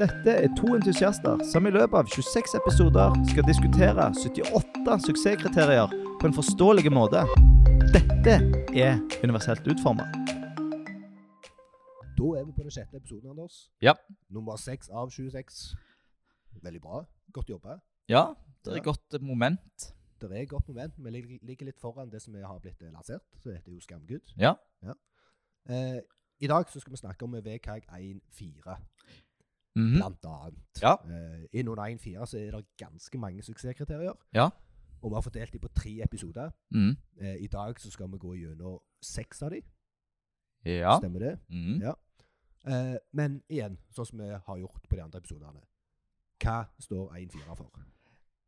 Dette er to entusiaster som i løpet av 26 episoder skal diskutere 78 suksesskriterier på en forståelig måte. Dette er universelt utforma. Da er vi på den sjette episoden, Anders. Ja. Nummer seks av 26. Veldig bra. Godt jobba. Ja, det er Ja. et godt moment. Det er godt moment. Vi lig- ligger litt foran det som vi har blitt eh, lansert, så det heter jo Skamgud. Ja. Eh, I dag så skal vi snakke om VKG 1.4, Mhm. blant annet. Mm. Ja. Eh, I noen 1.4 så er det ganske mange suksesskriterier. Ja. Og vi har fordelt dem på tre episoder. Mhm. Eh, I dag så skal vi gå gjennom seks av dem. Ja. Stemmer det? Mhm. Ja. Eh, men igjen, sånn som vi har gjort på de andre episodene. Hva står 1.4 for?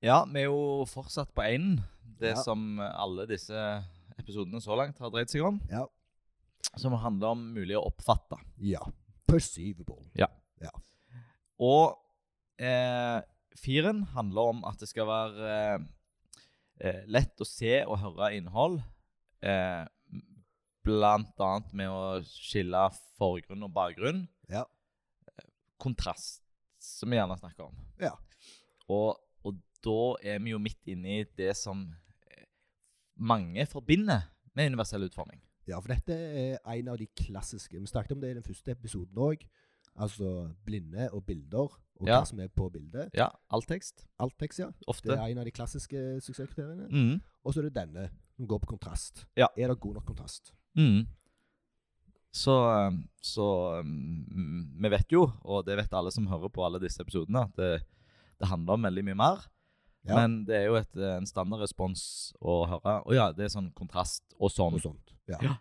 ja, vi er jo fortsatt på én. Det Ja. som alle disse episodene så langt har dreid seg om. Ja. Som handler om mulig å oppfatte. Ja. Perceivable. Og eh, firen handler om at det skal være eh, eh, lett å se og høre innhold. Eh, blant annet med å skille forgrunn og bakgrunn. Ja. Eh, Kontrast, som vi gjerne snakker om. Ja. Og, og da er vi jo midt inne i det som eh, mange forbinder med universell utforming. Ja, for dette er en av de klassiske. Vi snakket om det i den første episoden òg. Altså blinde og bilder, og Ja. hva som er på bildet. Ja, all tekst. Alt tekst, ja. Det Ofte. er en av de klassiske suksesskriteriene. Mhm. Og så er det denne, som går på kontrast. Ja. Er det god nok kontrast? Mm. Så, um, så um, vi vet jo, og det vet alle som hører på alle disse episodene, at det, det handler om veldig mye mer. Ja. Men det er jo et, eh, en standardrespons å høre. Å ja, det er sånn kontrast og sånn. Og sånt. Ja. Ja.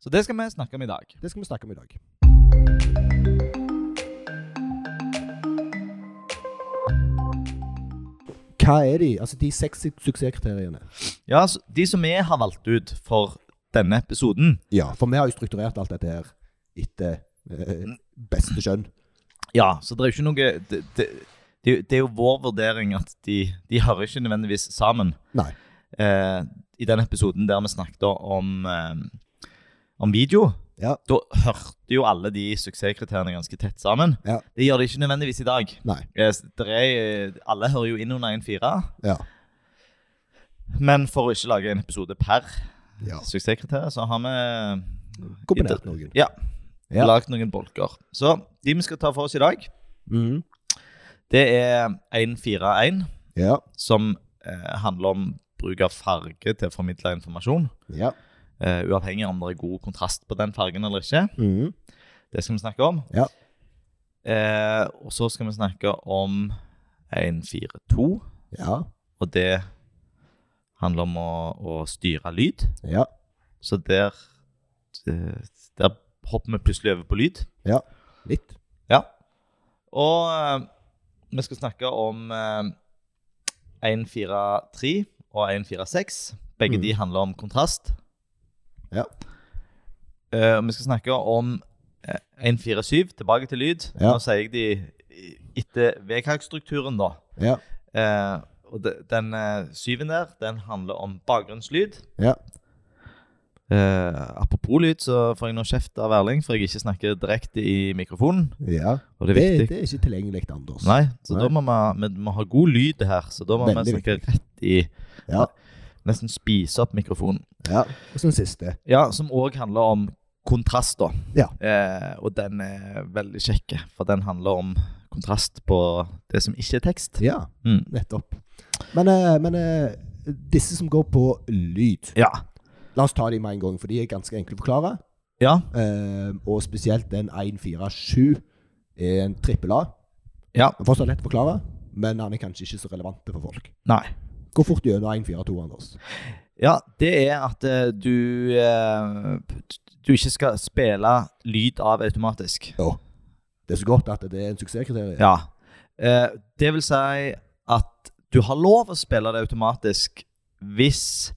Så det skal vi snakke om i dag. Det skal vi snakke om i dag. Hva er de? Altså de seks su- suksesskriteriene. Ja, så De som vi har valgt ut for denne episoden Ja, for vi har jo strukturert alt dette her etter eh, beste skjønn. Ja, så det er jo ikke noe Det, det, det, det er jo vår vurdering at de, de hører ikke nødvendigvis sammen. Nei. eh, i den episoden der vi snakket om, eh, om video, Ja. da hørte jo alle de suksesskriteriene ganske tett sammen. Ja. Det gjør det ikke nødvendigvis i dag. Nei. Eh, s- der er, eh, alle hører jo inn under 1.4, Ja. men for å ikke lage en episode per ja. suksesskriterium, så har vi Kombinert noen. ja, Ja. lagd noen bolker. Så de vi skal ta for oss i dag, Mhm. det er 1.4.1, Ja. som eh, handler om bruk av farge til å formidle informasjon. Ja. eh, uavhengig om det er god kontrast på den fargen eller ikke. Mhm. Det skal vi snakke om. Ja. Eh, og så skal vi snakke om 142, ja. og det handler om å, å styre lyd. Ja. Så der, eh, der hopper vi plutselig over på lyd. Litt. Ja. Og eh, vi skal snakke om eh, 143 og 146. Begge Mm. de handler om kontrast. Ja. Eh, og vi skal snakke om eh, 147, tilbake til lyd. Ja. Nå sier jeg de i- etter VKG-strukturen, da. Ja. Eh, og de, den eh, syven der, den handler om bakgrunnslyd. Ja. Eh, apropos lyd, så får jeg nå kjeft av Erling, for jeg ikke snakker direkte i mikrofonen. Ja. Og Det, det er viktig. det, er ikke tilgjengelig, Anders. Nei, så Nei. da må vi, vi må ha god lyd her, så da må Veldig vi snakke rett i Ja. Nesten spise opp mikrofonen. Ja. Og så den siste. Ja, som òg handler om kontrast, da. Ja. Eh, og den er veldig kjekk, for den handler om kontrast på det som ikke er tekst. Ja. Mm. Nettopp. Men, eh, men eh, disse som går på lyd Ja. La oss ta de med en gang, for de er ganske enkle å forklare. Ja. Eh, og spesielt den 147 er en trippel A. Ja. Den er fortsatt lett å forklare, men den er kanskje ikke så relevant for folk. Nei. Gå fort gjennom 142, Anders. Ja, det er at eh, du eh, Du ikke skal spille lyd av automatisk. Det er så godt at det er en suksesskriterium. Ja. Eh, det vil si at du har lov å spille det automatisk hvis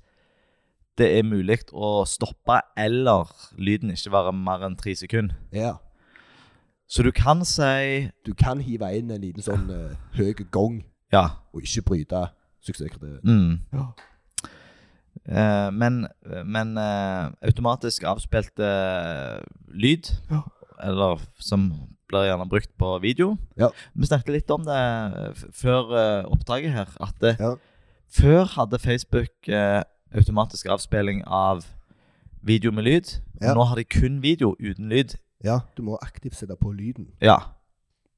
det er mulig å stoppe eller lyden ikke være mer enn tre sekunder. Ja. Så du kan si Du kan hive inn en liten sånn eh, høy gong ja. og ikke bryte suksesskriteriet. Mm. Ja. Eh, men men eh, automatisk avspilt eh, lyd Ja. eller som blir gjerne brukt på video. Ja. Vi snakket litt om det f- før eh, oppdraget her. At det, Ja. før hadde Facebook eh, automatisk avspilling av video med lyd. Ja. Nå har de kun video uten lyd. Ja, du må aktivt sette på lyden. Ja.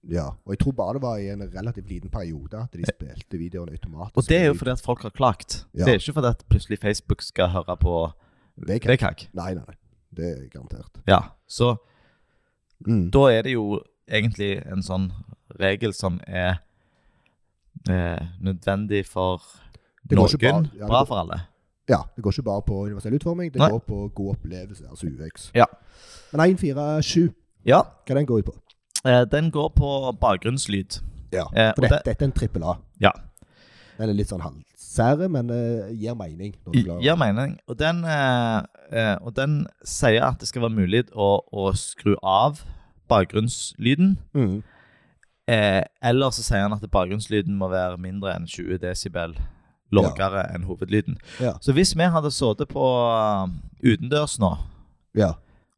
Ja, og jeg tror bare det var i en relativt liten periode at de spilte videoene automatisk. Eh, Og det er jo fordi at folk har klagt. Ja. Det er ikke fordi at plutselig Facebook skal høre på Det kan- VKG. Nei, nei, nei. Det er garantert. Ja. Så Mm. da er det jo egentlig en sånn regel som er eh, nødvendig for Det går noen, ikke bra, bra- ja, det går- for alle. Ja, det går ikke bare på universell utforming, det Nei. går på god opplevelse, altså UX. Ja. Men 147, Ja, hva den går ut på? eh, den går på bakgrunnslyd. Ja, Eh, For og dette, det- dette er en trippel A. Ja. Den er litt sånn halvsære, men eh, gir mening. Når du klarer- Gir mening. Og den, eh, eh, og den sier at det skal være mulig å, å skru av bakgrunnslyden. Mm. Eh, eller så sier han at bakgrunnslyden må være mindre enn 20 desibel. Lavere enn hovedlyden. Ja. Så hvis vi hadde sittet på eh, utendørs nå ja.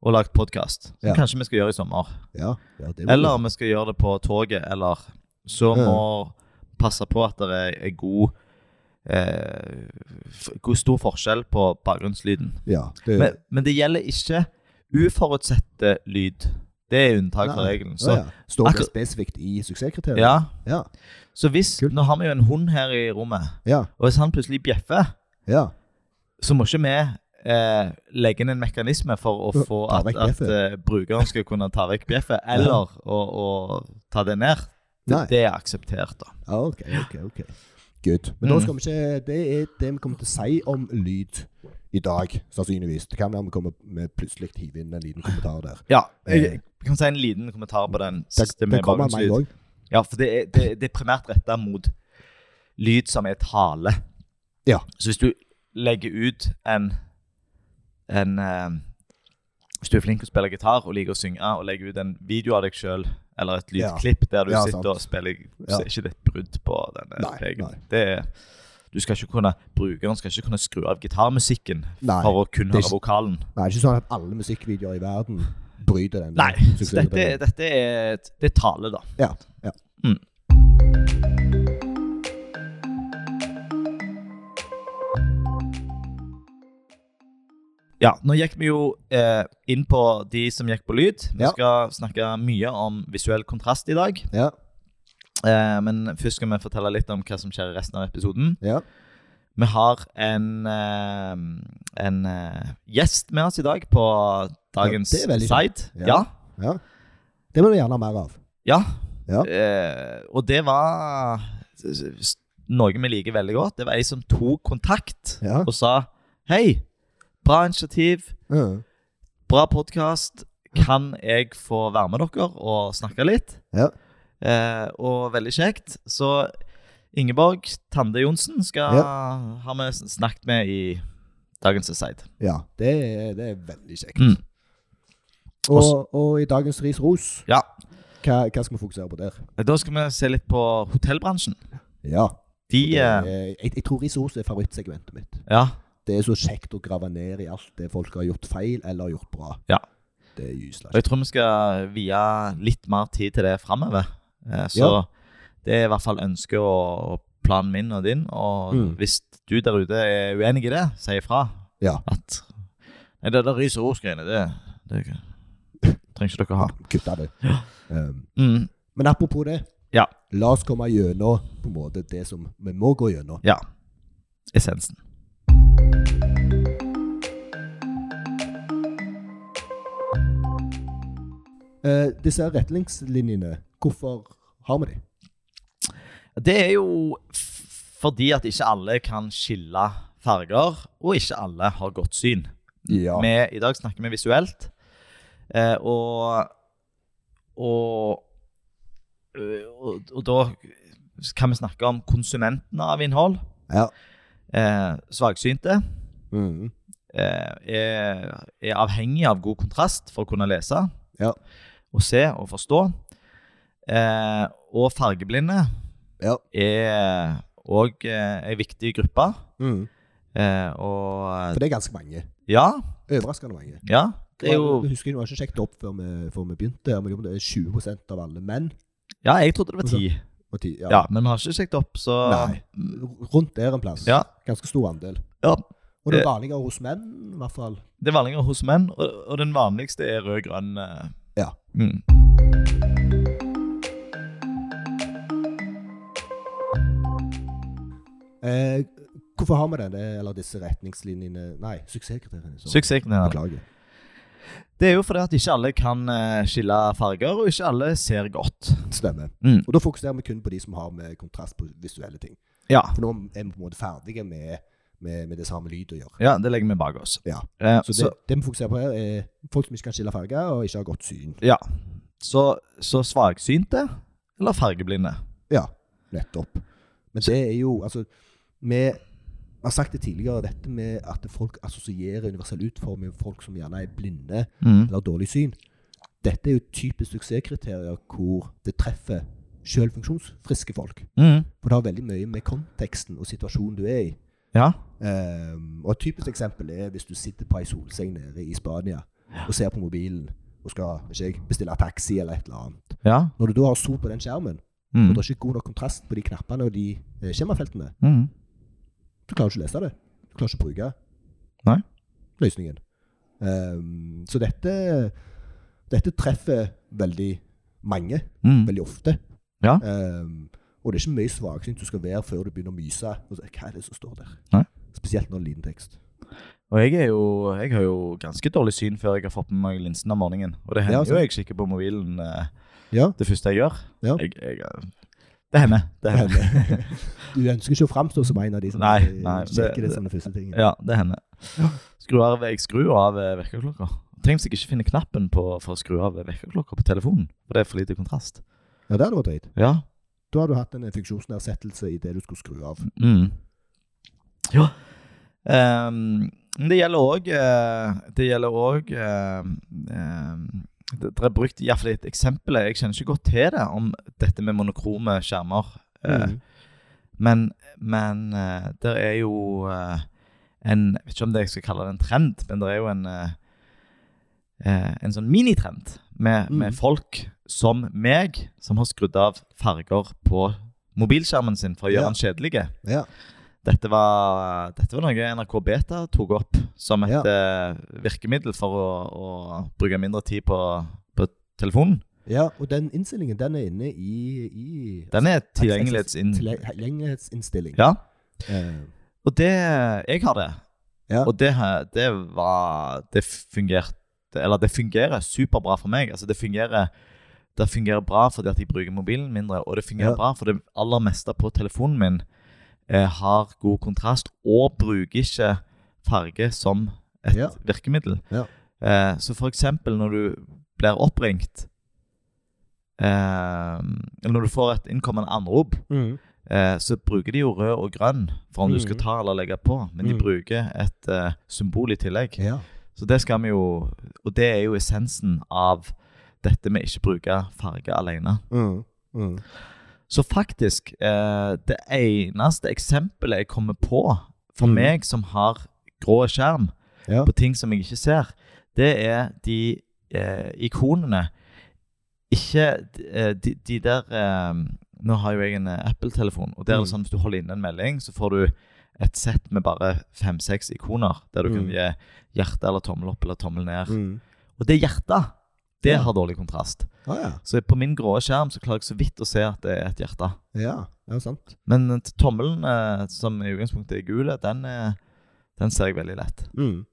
og lagd podkast, som Ja. kanskje vi skal gjøre i sommer, Ja. ja det må eller du- om vi skal gjøre det på toget, eller så Ja. må passe på at det er, er god eh, f- god stor forskjell på bakgrunnslyden. Ja. Det, Men, men det gjelder ikke uforutsette lyd. Det er unntak fra Nei. regelen. ja, Så, ja. Står det akkur- spesifikt i suksesskriteriet? ja. Ja. så hvis Kult. Nå har vi jo en hund her i rommet, Ja. og hvis han plutselig bjeffer, ja. så må ikke vi eh, legge inn en mekanisme for å få Ta at, vekk at bjeffet. eh, brukeren skal kunne ta vekk bjeffet, eller å, å ta det ned. Det, Nei. det er akseptert, da. Ja, Ah, OK, OK. ok. Good. Men Mm. da skal vi ikke Det er det vi kommer til å si om lyd i dag, sannsynligvis. Det kan være vi kommer med plutselig hive inn en liten kommentar der. Ja, jeg, Eh. jeg kan si en liten kommentar på den Det, siste det med kommer av meg bakgrunnslyd. òg. Ja, for det er, det, det er primært retta mot lyd som er tale. Ja. Så hvis du legger ut en, en eh, Hvis du er flink til å spille gitar og liker å synge, og legger ut en video av deg sjøl eller et Ja. lydklipp der du Ja, sitter sant. og spiller, Ja. så er ikke det et brudd på denne Nei, nei. regelen. Det er du skal ikke kunne, Brukeren skal ikke kunne skru av gitarmusikken Nei. for å kun det er høre ikke- vokalen. Nei, det er ikke sånn at alle musikkvideoer i verden bryter den. Nei, så dette, suksesskriterien. dette er, et- det er tale, da. Ja. ja. Mm. Ja, nå gikk vi jo eh, inn på de som gikk på lyd. Vi Ja. skal snakke mye om visuell kontrast i dag. ja. Eh, men først skal vi fortelle litt om hva som skjer i resten av episoden. Ja. Vi har en, eh, en eh, gjest med oss i dag på dagens det er veldig side. Ja. Ja. ja. Det må du gjerne ha mer av. Ja. Ja. Eh, og det var s- s- noe vi liker veldig godt. Det var ei som tok kontakt Ja. og sa Hei, bra initiativ, Mm. bra podkast. Kan jeg få være med dere og snakke litt? Ja. Eh, og veldig kjekt. Så Ingeborg Tande Johnsen skal, har vi s- snakket med i dagens Society. ja. Det, er, det er veldig kjekt. Mm. Og, og i dagens Ris Ros, Ja. hva, hva skal vi fokusere på der? Da skal vi se litt på hotellbransjen. Ja. De eh, Eh, Jeg, jeg tror Ris Ros er favorittsegmentet mitt. Ja. Det er så kjekt å grave ned i alt det folk har gjort feil eller gjort bra. Ja. Det er gysla Og jeg tror vi skal vie litt mer tid til det framover. Så Ja. det er i hvert fall ønsket og og planen min og din. Og Mm. hvis du der ute er uenig i det, si ifra. Ja. At Nei, det der ris og ros-greiene, det, det er ikke- trenger ikke dere ha. Kutta det. Um, Mm. men apropos det. Ja. La oss komme gjennom på en måte det som vi må gå gjennom. Ja. Essensen. Eh, disse retningslinjene, hvorfor har vi de? Det er jo f fordi at ikke alle kan skille farger, og ikke alle har godt syn. Ja. Vi, I dag snakker vi visuelt. Eh, og, og, øh, og og da kan vi snakke om konsumentene av innhold. ja. Eh, svaksynte Mhm. eh, er, er avhengig av god kontrast for å kunne lese Ja. og se og forstå. Eh, og fargeblinde Ja. er òg eh, en viktig gruppe. Mhm. Eh, For og det er ganske mange. ja, Overraskende mange. Ja, Det er jo Jeg husker jeg var ikke sjekket opp før vi, før vi begynte, her, men jo, det er 20 av alle menn. Ja, jeg trodde det var ti. Og ti, ja. Ja, men vi har ikke sjekket opp, så Nei. Rundt der en plass. Ja. Ganske stor andel. Ja. Og det er vanligere hos menn, i hvert fall. Det er vanligere hos menn, og, og den vanligste er rød-grønn. eh. Ja. Mm. Eh, hvorfor har vi denne, eller disse retningslinjene Nei, suksesskriteriene. så- Suksesskriteriene. Beklager. Det er jo fordi at ikke alle kan eh, skille farger, og ikke alle ser godt. Stemmer. Mm. Og da fokuserer vi kun på de som har med kontrast på visuelle ting. Ja, For nå er vi på en måte ferdige med, med, med det som har med lyd å gjøre. ja det legger vi bak oss. Ja. Eh, Så det, det vi fokuserer på her, er folk som ikke kan skille farger og ikke har godt syn. ja. så, så svaksynte eller fargeblinde? Ja, nettopp. Men det er jo Altså, vi har sagt det tidligere, dette med at folk assosierer universell utforming med folk som gjerne er blinde Mm, eller har dårlig syn. Dette er jo typisk suksesskriterier hvor det treffer sjøl funksjonsfriske folk. Mm. For det har veldig mye med konteksten og situasjonen du er i. Ja. Ehm, og Et typisk eksempel er hvis du sitter på ei solseng nede i Spania og ser på mobilen og skal ikke jeg, bestille taxi eller et eller annet. Ja. Når du da har sol på den skjermen, og Mm. det er ikke god nok kontrast på de knappene og de eh, skjemafeltene, Mm. du klarer ikke å lese det. Du klarer ikke å bruke Nei. løsningen. Ehm, så dette, dette treffer veldig mange, Mm. veldig ofte. Ja. Ehm, og det er ikke mye svaksynt du skal være før du begynner å myse. Og så, Hva er det som står der? Nei. Spesielt når det er liten tekst. Og jeg, er jo, jeg har jo ganske dårlig syn før jeg har fått med meg linsen om morgenen. Og det hender Ja, sant. jo jeg kikker på mobilen eh, Ja. det første jeg gjør. Ja. Jeg, jeg, eh, det hender. Det hender. Du ønsker ikke å framstå som en av de som Nei, eh, nei, det- sjekker det, det- som den første tingen. Ja, det hender. Skru av, jeg skrur av eh, vekkerklokka. Tenk hvis jeg ikke finner knappen på, for å skru av eh, vekkerklokka på telefonen. For det er for lite kontrast. Ja, det hadde vært dritt. Ja. Da hadde du hatt en eh, funksjonsnedsettelse i det du skulle skru av. Mm. Ja. Ehm, men det gjelder òg Det gjelder òg det, det er brukt iallfall et eksempel Jeg kjenner ikke godt til det om dette med monokrome skjermer. Eh, Mhm. Men, men eh, det er jo eh, en Jeg vet ikke om det jeg skal kalle det en trend, men det er jo en eh, eh, en sånn minitrend med, Mhm. med folk som meg, som har skrudd av farger på mobilskjermen sin for å Ja. gjøre den kjedelige. Ja. Dette var, dette var noe NRK Beta tok opp som et Ja. eh, virkemiddel for å, å bruke mindre tid på, på telefonen. ja, og den innstillingen, den er inne i, i Den er tilgjengelighetsinnstilling. tilgjengelighetsin... Mm. Ja. Eh, Og det Jeg har det. Ja. Og det, her- det var Det fungerte Eller det fungerer superbra for meg. Altså, det fungerer det fungerer bra fordi at jeg bruker mobilen mindre, og det fungerer Ja. bra for det aller meste på telefonen min eh, har god kontrast og bruker ikke farge som et Ja. virkemiddel. Ja. Eh, så for eksempel når du blir oppringt eh, Eller når du får et innkommende anrop, Mm. eh, så bruker de jo rød og grønn for om du skal Mhm. ta eller legge på, men de Mhm. bruker et eh, symbol i tillegg. ja. Så det skal vi jo Og det er jo essensen av dette med ikke bruke farge alene. Mm. Mm. Så faktisk, eh, det eneste eksempelet jeg kommer på for Mhm. meg som har grå skjerm Ja. på ting som jeg ikke ser, det er de eh, ikonene Ikke eh, de, de der eh, Nå har jo jeg en eh, Apple-telefon, og der er det Mhm. sånn hvis du holder inne en melding, så får du et sett med bare fem-seks ikoner, der du kan Mhm. gi hjerte eller tommel opp eller tommel ned. Mm. Og det hjertet, det Ja. har dårlig kontrast. Ah, ja. Så på min grå skjerm så klarer jeg så vidt å se at det er et hjerte. ja. Ja, sant. Men eh, tommelen, eh, som i utgangspunktet er gul, den, eh, den ser jeg veldig lett. Mm.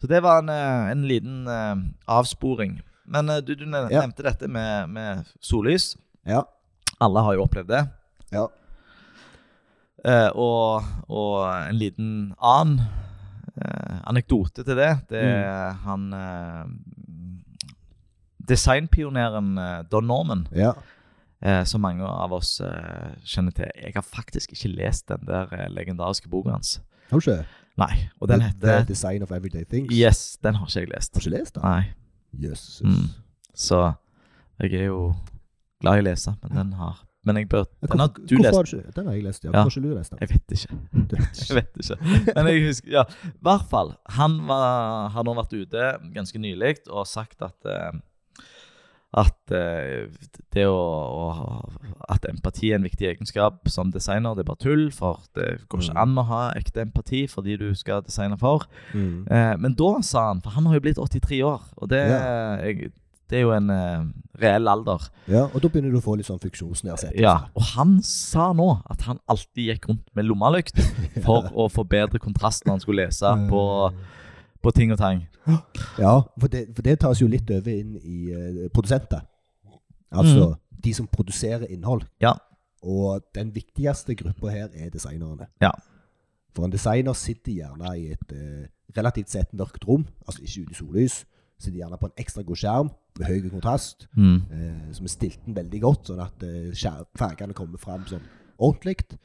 Så det var en, eh, en liten eh, avsporing. Men eh, du, du nev- Ja. nevnte dette med, med sollys. Ja. Alle har jo opplevd det. Ja. Eh, og, og en liten annen eh, anekdote til det, det er han eh, Designpioneren eh, Don Norman, Ja. eh, som mange av oss eh, kjenner til. Jeg har faktisk ikke lest den der eh, legendariske boka hans. Har du ikke? Nei, og den The- The heter Design of Everyday Things. Yes, den har ikke jeg lest. Har du ikke lest den? Nei, Jøsses. Mm. så jeg er jo glad i å lese, men den har Men jeg bør Ja, Den har hvorfor- du hvorfor lest. har du ikke- Den har jeg lest, ja. Ja. Hvorfor har ikke du lest den? Jeg vet ikke. Du vet Jeg ikke. vet ikke. Men jeg husker Ja, i hvert fall. Han var, har nå vært ute ganske nylig og sagt at eh, at eh, det å, å At empati er en viktig egenskap som designer, det er bare tull. For det går ikke an å ha ekte empati for de du skal designe for. Mm. Eh, men da sa han, for han har jo blitt 83 år, og det, jeg, det er jo en eh, reell alder. Ja, og da begynner du å få litt sånn funksjonsnedsettelse. Ja, og han sa nå at han alltid gikk rundt med lommelykt for å få bedre kontrast når han skulle lese på, på ting og tang. Ja, for det, for det tas jo litt over inn i eh, produsenter. Altså de som produserer innhold. Mm. Ja. Og den viktigste gruppa her er designerne. Ja. For en designer sitter gjerne i et eh, relativt sett mørkt rom, altså ikke ute i sollys. Sitter gjerne på en ekstra god skjerm med høy kontrast, Mm. eh, som er stilt den veldig godt, sånn at eh, skjær- fargene kommer fram sånn ordentlig.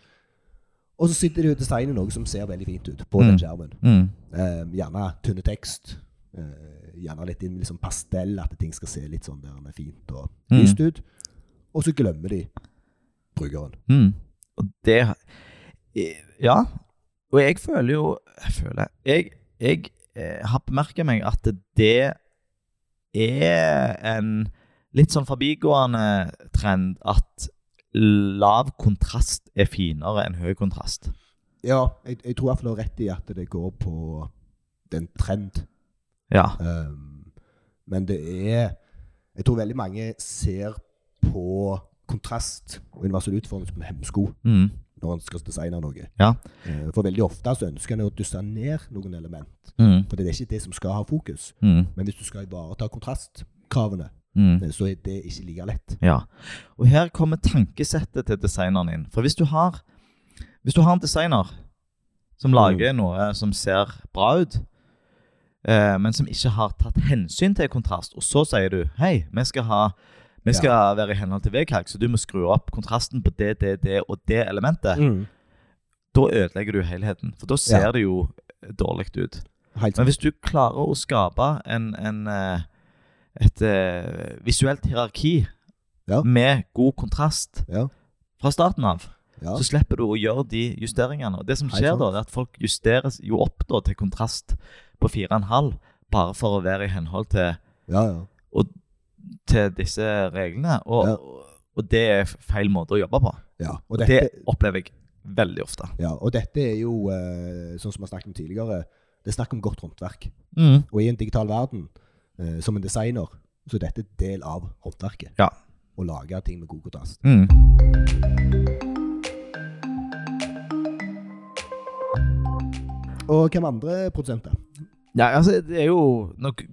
Og så sitter de og designer noe som ser veldig fint ut på Mm. den skjermen. Mm. Eh, gjerne tynne tekst. Eh, gjerne litt inn med liksom pastell, at ting skal se litt sånn der den er fint og Mm. lyst ut. Og så glemmer de brukeren. Mm. Og det Ja. Og jeg føler jo Jeg føler Jeg, jeg eh, har bemerket meg at det er en litt sånn forbigående trend at lav kontrast er finere enn høy kontrast. Ja, jeg, jeg tror iallfall du har rett i at det går på den trend. Ja. Um, men det er Jeg tror veldig mange ser på kontrast og universell utforming som en hemsko Mm. når en skal designe noe. Ja. Eh, For veldig ofte så ønsker en å dysse ned noen element. Mm. For det er ikke det som skal ha fokus. Mm. Men hvis du skal ivareta kontrastkravene, Mm. så er det ikke like lett. Ja. Og her kommer tankesettet til designeren inn. For hvis du har, hvis du har en designer som lager noe som ser bra ut, eh, men som ikke har tatt hensyn til kontrast, og så sier du hei, vi skal ha vi skal være i henhold til VKG, så du må skru opp kontrasten på det, det, det og det elementet. Da ødelegger du helheten, for da ser Mm. Ja. det jo dårlig ut. Helt Men sant. hvis du klarer å skape en, en, eh, et eh, visuelt hierarki Ja. med god kontrast Ja. fra starten av, Ja. så slipper du å gjøre de justeringene. Og det som Helt skjer sant. da, er at folk justeres jo opp da, til kontrast på 4,5, bare for å være i henhold til, ja, ja. til disse reglene. Og, Ja. og det er feil måte å jobbe på. ja. Og, Det dette, opplever jeg veldig ofte. ja. og dette er jo, eh, sånn som vi har snakket om tidligere, det er snakk om godt håndverk. Mm. Og i en digital verden, eh, som en designer, så er dette del av håndverket. Ja. Å lage ting med god kontrast. Mm. Og hvem andre produsenter? Ja, altså, det er jo nok,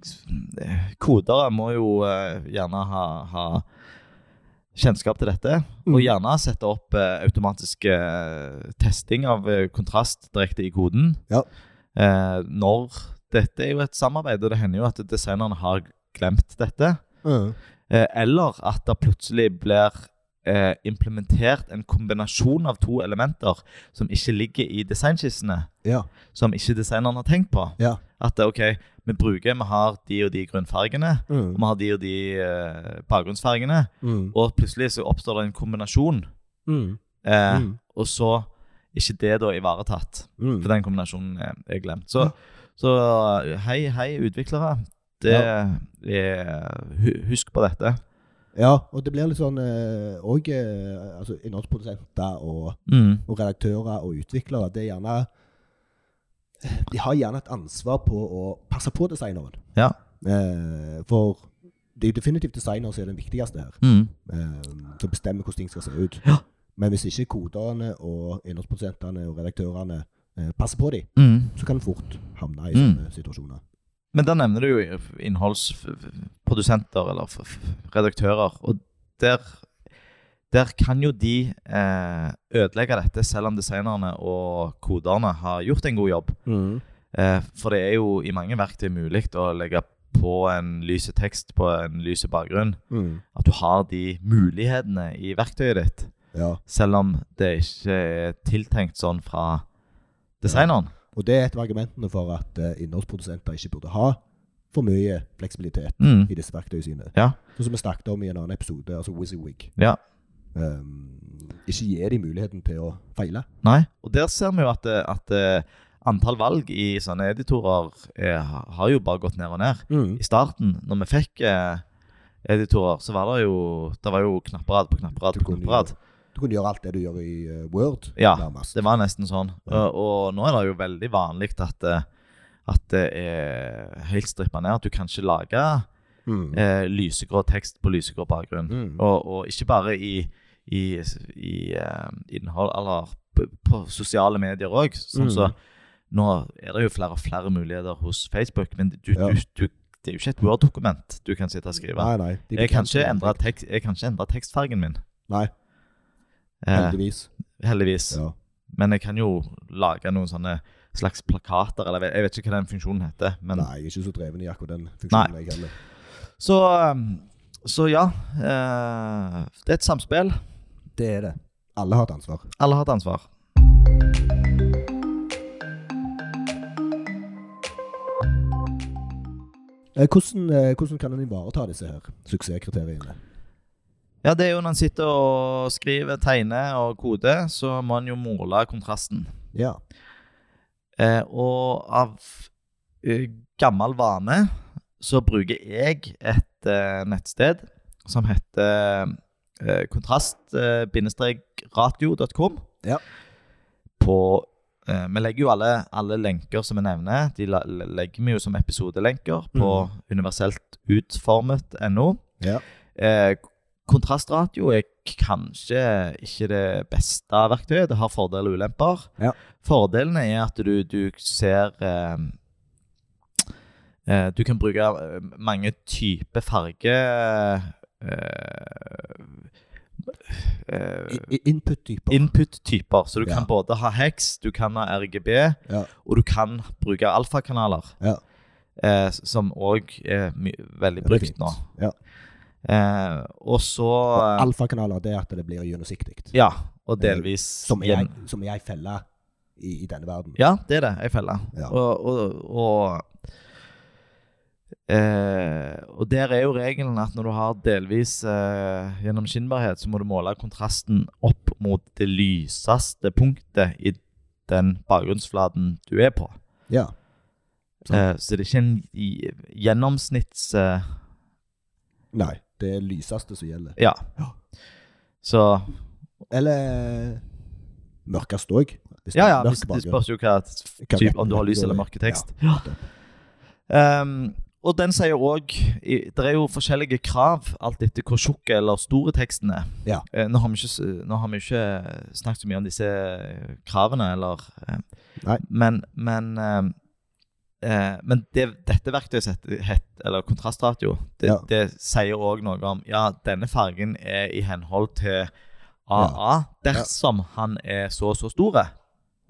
Kodere må jo eh, gjerne ha, ha kjennskap til dette. Og gjerne sette opp eh, automatisk eh, testing av eh, kontrast direkte i koden. Ja. Eh, når Dette er jo et samarbeid, og det hender jo at designerne har glemt dette. Eh, eller at det plutselig blir eh, implementert en kombinasjon av to elementer som ikke ligger i designskissene Ja. som ikke designeren har tenkt på. Ja. At eh, ok, vi bruker, vi har de og de grunnfargene, og vi har de og de eh, bakgrunnsfargene, Mm. og plutselig så oppstår det en kombinasjon, Mm. eh, Mm. og så ikke det da ivaretatt, Mm. for den kombinasjonen er, er glemt. Så, så eh, hei, hei utviklere, det er, hu- husk på dette. Ja, og det blir litt sånn òg altså, innholdsprodusenter og Mm. og redaktører og utviklere, det er gjerne De har gjerne et ansvar på å passe på designeren. Ja. Eh, for det er jo definitivt designeren som er den viktigste her. Mm. Eh, som bestemmer hvordan ting skal se ut. Ja. Men hvis ikke koderne og innholdsprodusentene og redaktørene eh, passer på dem, Mm. så kan en fort havne i Mm. sånne situasjoner. Men da nevner du jo innholdsprodusenter eller f- f- redaktører, og der, der kan jo de eh, ødelegge dette, selv om designerne og koderne har gjort en god jobb. Eh, for det er jo i mange verktøy mulig å legge på en lyse tekst på en lyse bakgrunn. Mm. At du har de mulighetene i verktøyet ditt, Ja. selv om det ikke er tiltenkt sånn fra designeren. Og det er et av argumentene for at eh, innholdsprodusenter ikke burde ha for mye fleksibilitet Mm. i disse verktøyene sine. Ja. Sånn som vi snakket om i en annen episode, altså WYSIWYG. Ja. Um, ikke gi dem muligheten til å feile. Nei. Og der ser vi jo at, eh, at eh, antall valg i sånne editorer eh, ha- har jo bare gått ned og ned. I starten, når vi fikk eh, editorer, så var det jo Det var jo knapperad på knapperad Du på kunne knapperad. Du kunne gjøre alt det du gjør i eh, Word, Ja, nærmest. Det var nesten sånn. Ja. Og, og nå er det jo veldig vanlig at, eh, at det er helt strippa ned. At du kan ikke lage Mm. eh, lysegrå tekst på lysegrå bakgrunn. Mm. Og, og ikke bare i, i, i eh, innhold, eller på, på sosiale medier òg. Sånn Mm. så, nå er det jo flere og flere muligheter hos Facebook, men du, Ja. du, du, det er jo ikke et Word-dokument du kan sitte og skrive. Nei, nei. de jeg, kan begrenser ikke endre det. tekst, jeg kan ikke endre tekstfargen min, Nei, eh, heldigvis. heldigvis. Ja. Men jeg kan jo lage noen sånne slags plakater, eller jeg vet ikke hva den funksjonen heter. Men, Nei, jeg er ikke så dreven i akkurat den funksjonen jeg heller. så, um, så ja, eh, det er et samspill. Det er det. Alle har et ansvar. Alle har et ansvar. Eh, hvordan, eh, hvordan kan en ivareta disse her suksesskriteriene? Ja, det er jo når en sitter og skriver, tegner og koder, så må en jo måle kontrasten. Ja. Eh, og av eh, gammel vane så bruker jeg et eh, nettsted som heter eh, kontrast-ratio.com. Ja. På eh, Vi legger jo alle, alle lenker som vi nevner, de la- legger vi jo som episodelenker på universelt utformet.no. ja. Eh, kontrastratio er k- kanskje ikke det beste verktøyet. Det har fordeler og ulemper. Ja. Fordelene er at du, du ser eh, eh, Du kan bruke eh, mange typer farge eh, eh, I- i- Input-typer. Input-typer. Så du Ja. kan både ha heks, du kan ha RGB, Ja. og du kan bruke alfakanaler. Ja. Eh, s- som òg er my veldig Ja, det er brukt fint. nå. Ja. Eh, og så eh, Alfakanaler, det er at det blir gjennomsiktig. Ja, og delvis Som er hjem- ei- som er ei felle i, i denne verden. Ja, det er det. Ei felle. Ja. Og, og, og eh, Og der er jo regelen at når du har delvis eh, gjennomskinnbarhet, så må du måle kontrasten opp mot det lyseste punktet i den bakgrunnsflaten du er på. Ja. Sant. Eh, så det er ikke en i- gjennomsnitts... Eh, Nei, det er lyseste som gjelder. ja. Så Eller mørkest òg. Ja, ja, hvis, det spørs jo hva Hva typ, retten om du har lys går i. eller mørke tekst. Ja. Ehm, og den sier òg Det er jo forskjellige krav alt etter hvor tjukk eller store teksten er. Ja. Eh, nå, har vi ikke, s- nå har vi ikke snakket så mye om disse kravene, eller eh, Nei. Men, men ehm, eh, men det, dette verktøyet, sett- het, eller kontrastratio, det, Ja. det sier òg noe om Ja, denne fargen er i henhold til AA dersom han er så og så store.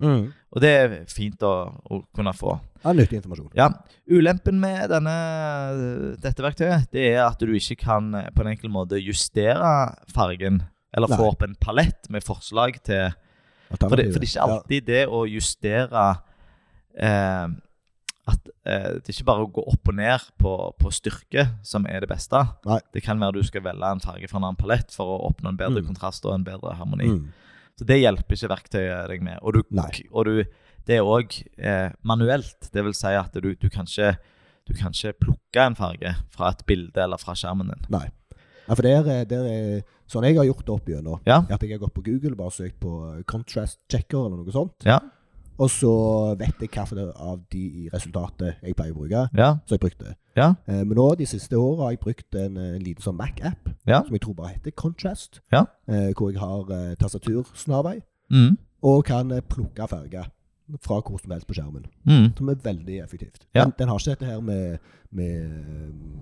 Mm. Og det er fint å, å kunne få. Ja, nyttig informasjon. Ja, Ulempen med denne, dette verktøyet det er at du ikke kan eh, på en enkel måte justere fargen. Eller Nei. få opp en palett med forslag til For det, for det er ikke alltid det å justere eh, At eh, det er ikke bare å gå opp og ned på, på styrke som er det beste. Nei. Det kan være du skal velge en farge fra en annen palett for å oppnå en bedre Mm. kontrast og en bedre Ja. harmoni. Mm. Så det hjelper ikke verktøyet deg med. Og, du, Nei. og du, det er òg eh, manuelt. Det vil si at du, du, kan ikke, du kan ikke plukke en farge fra et bilde eller fra skjermen din. Nei. Ja, for der, er- der er sånn jeg har gjort det opp gjennom. Ja. er At jeg har gått på Google bare søkt på eh, contrast checker eller noe sånt. Ja. Og så vet jeg hvilke av de i resultatet jeg pleier å bruke. Ja. Så jeg brukte det. Ja. Eh, Men nå de siste åra har jeg brukt en, eh, en liten sånn Mac-app Ja. som jeg tror bare heter Contrast. Ja. eh, Hvor jeg har eh, tastatursnarvei Mm. og kan eh, plukke farger fra hvor som helst på skjermen. Mm. Som er veldig effektivt. Ja. Den, den har ikke dette her med, med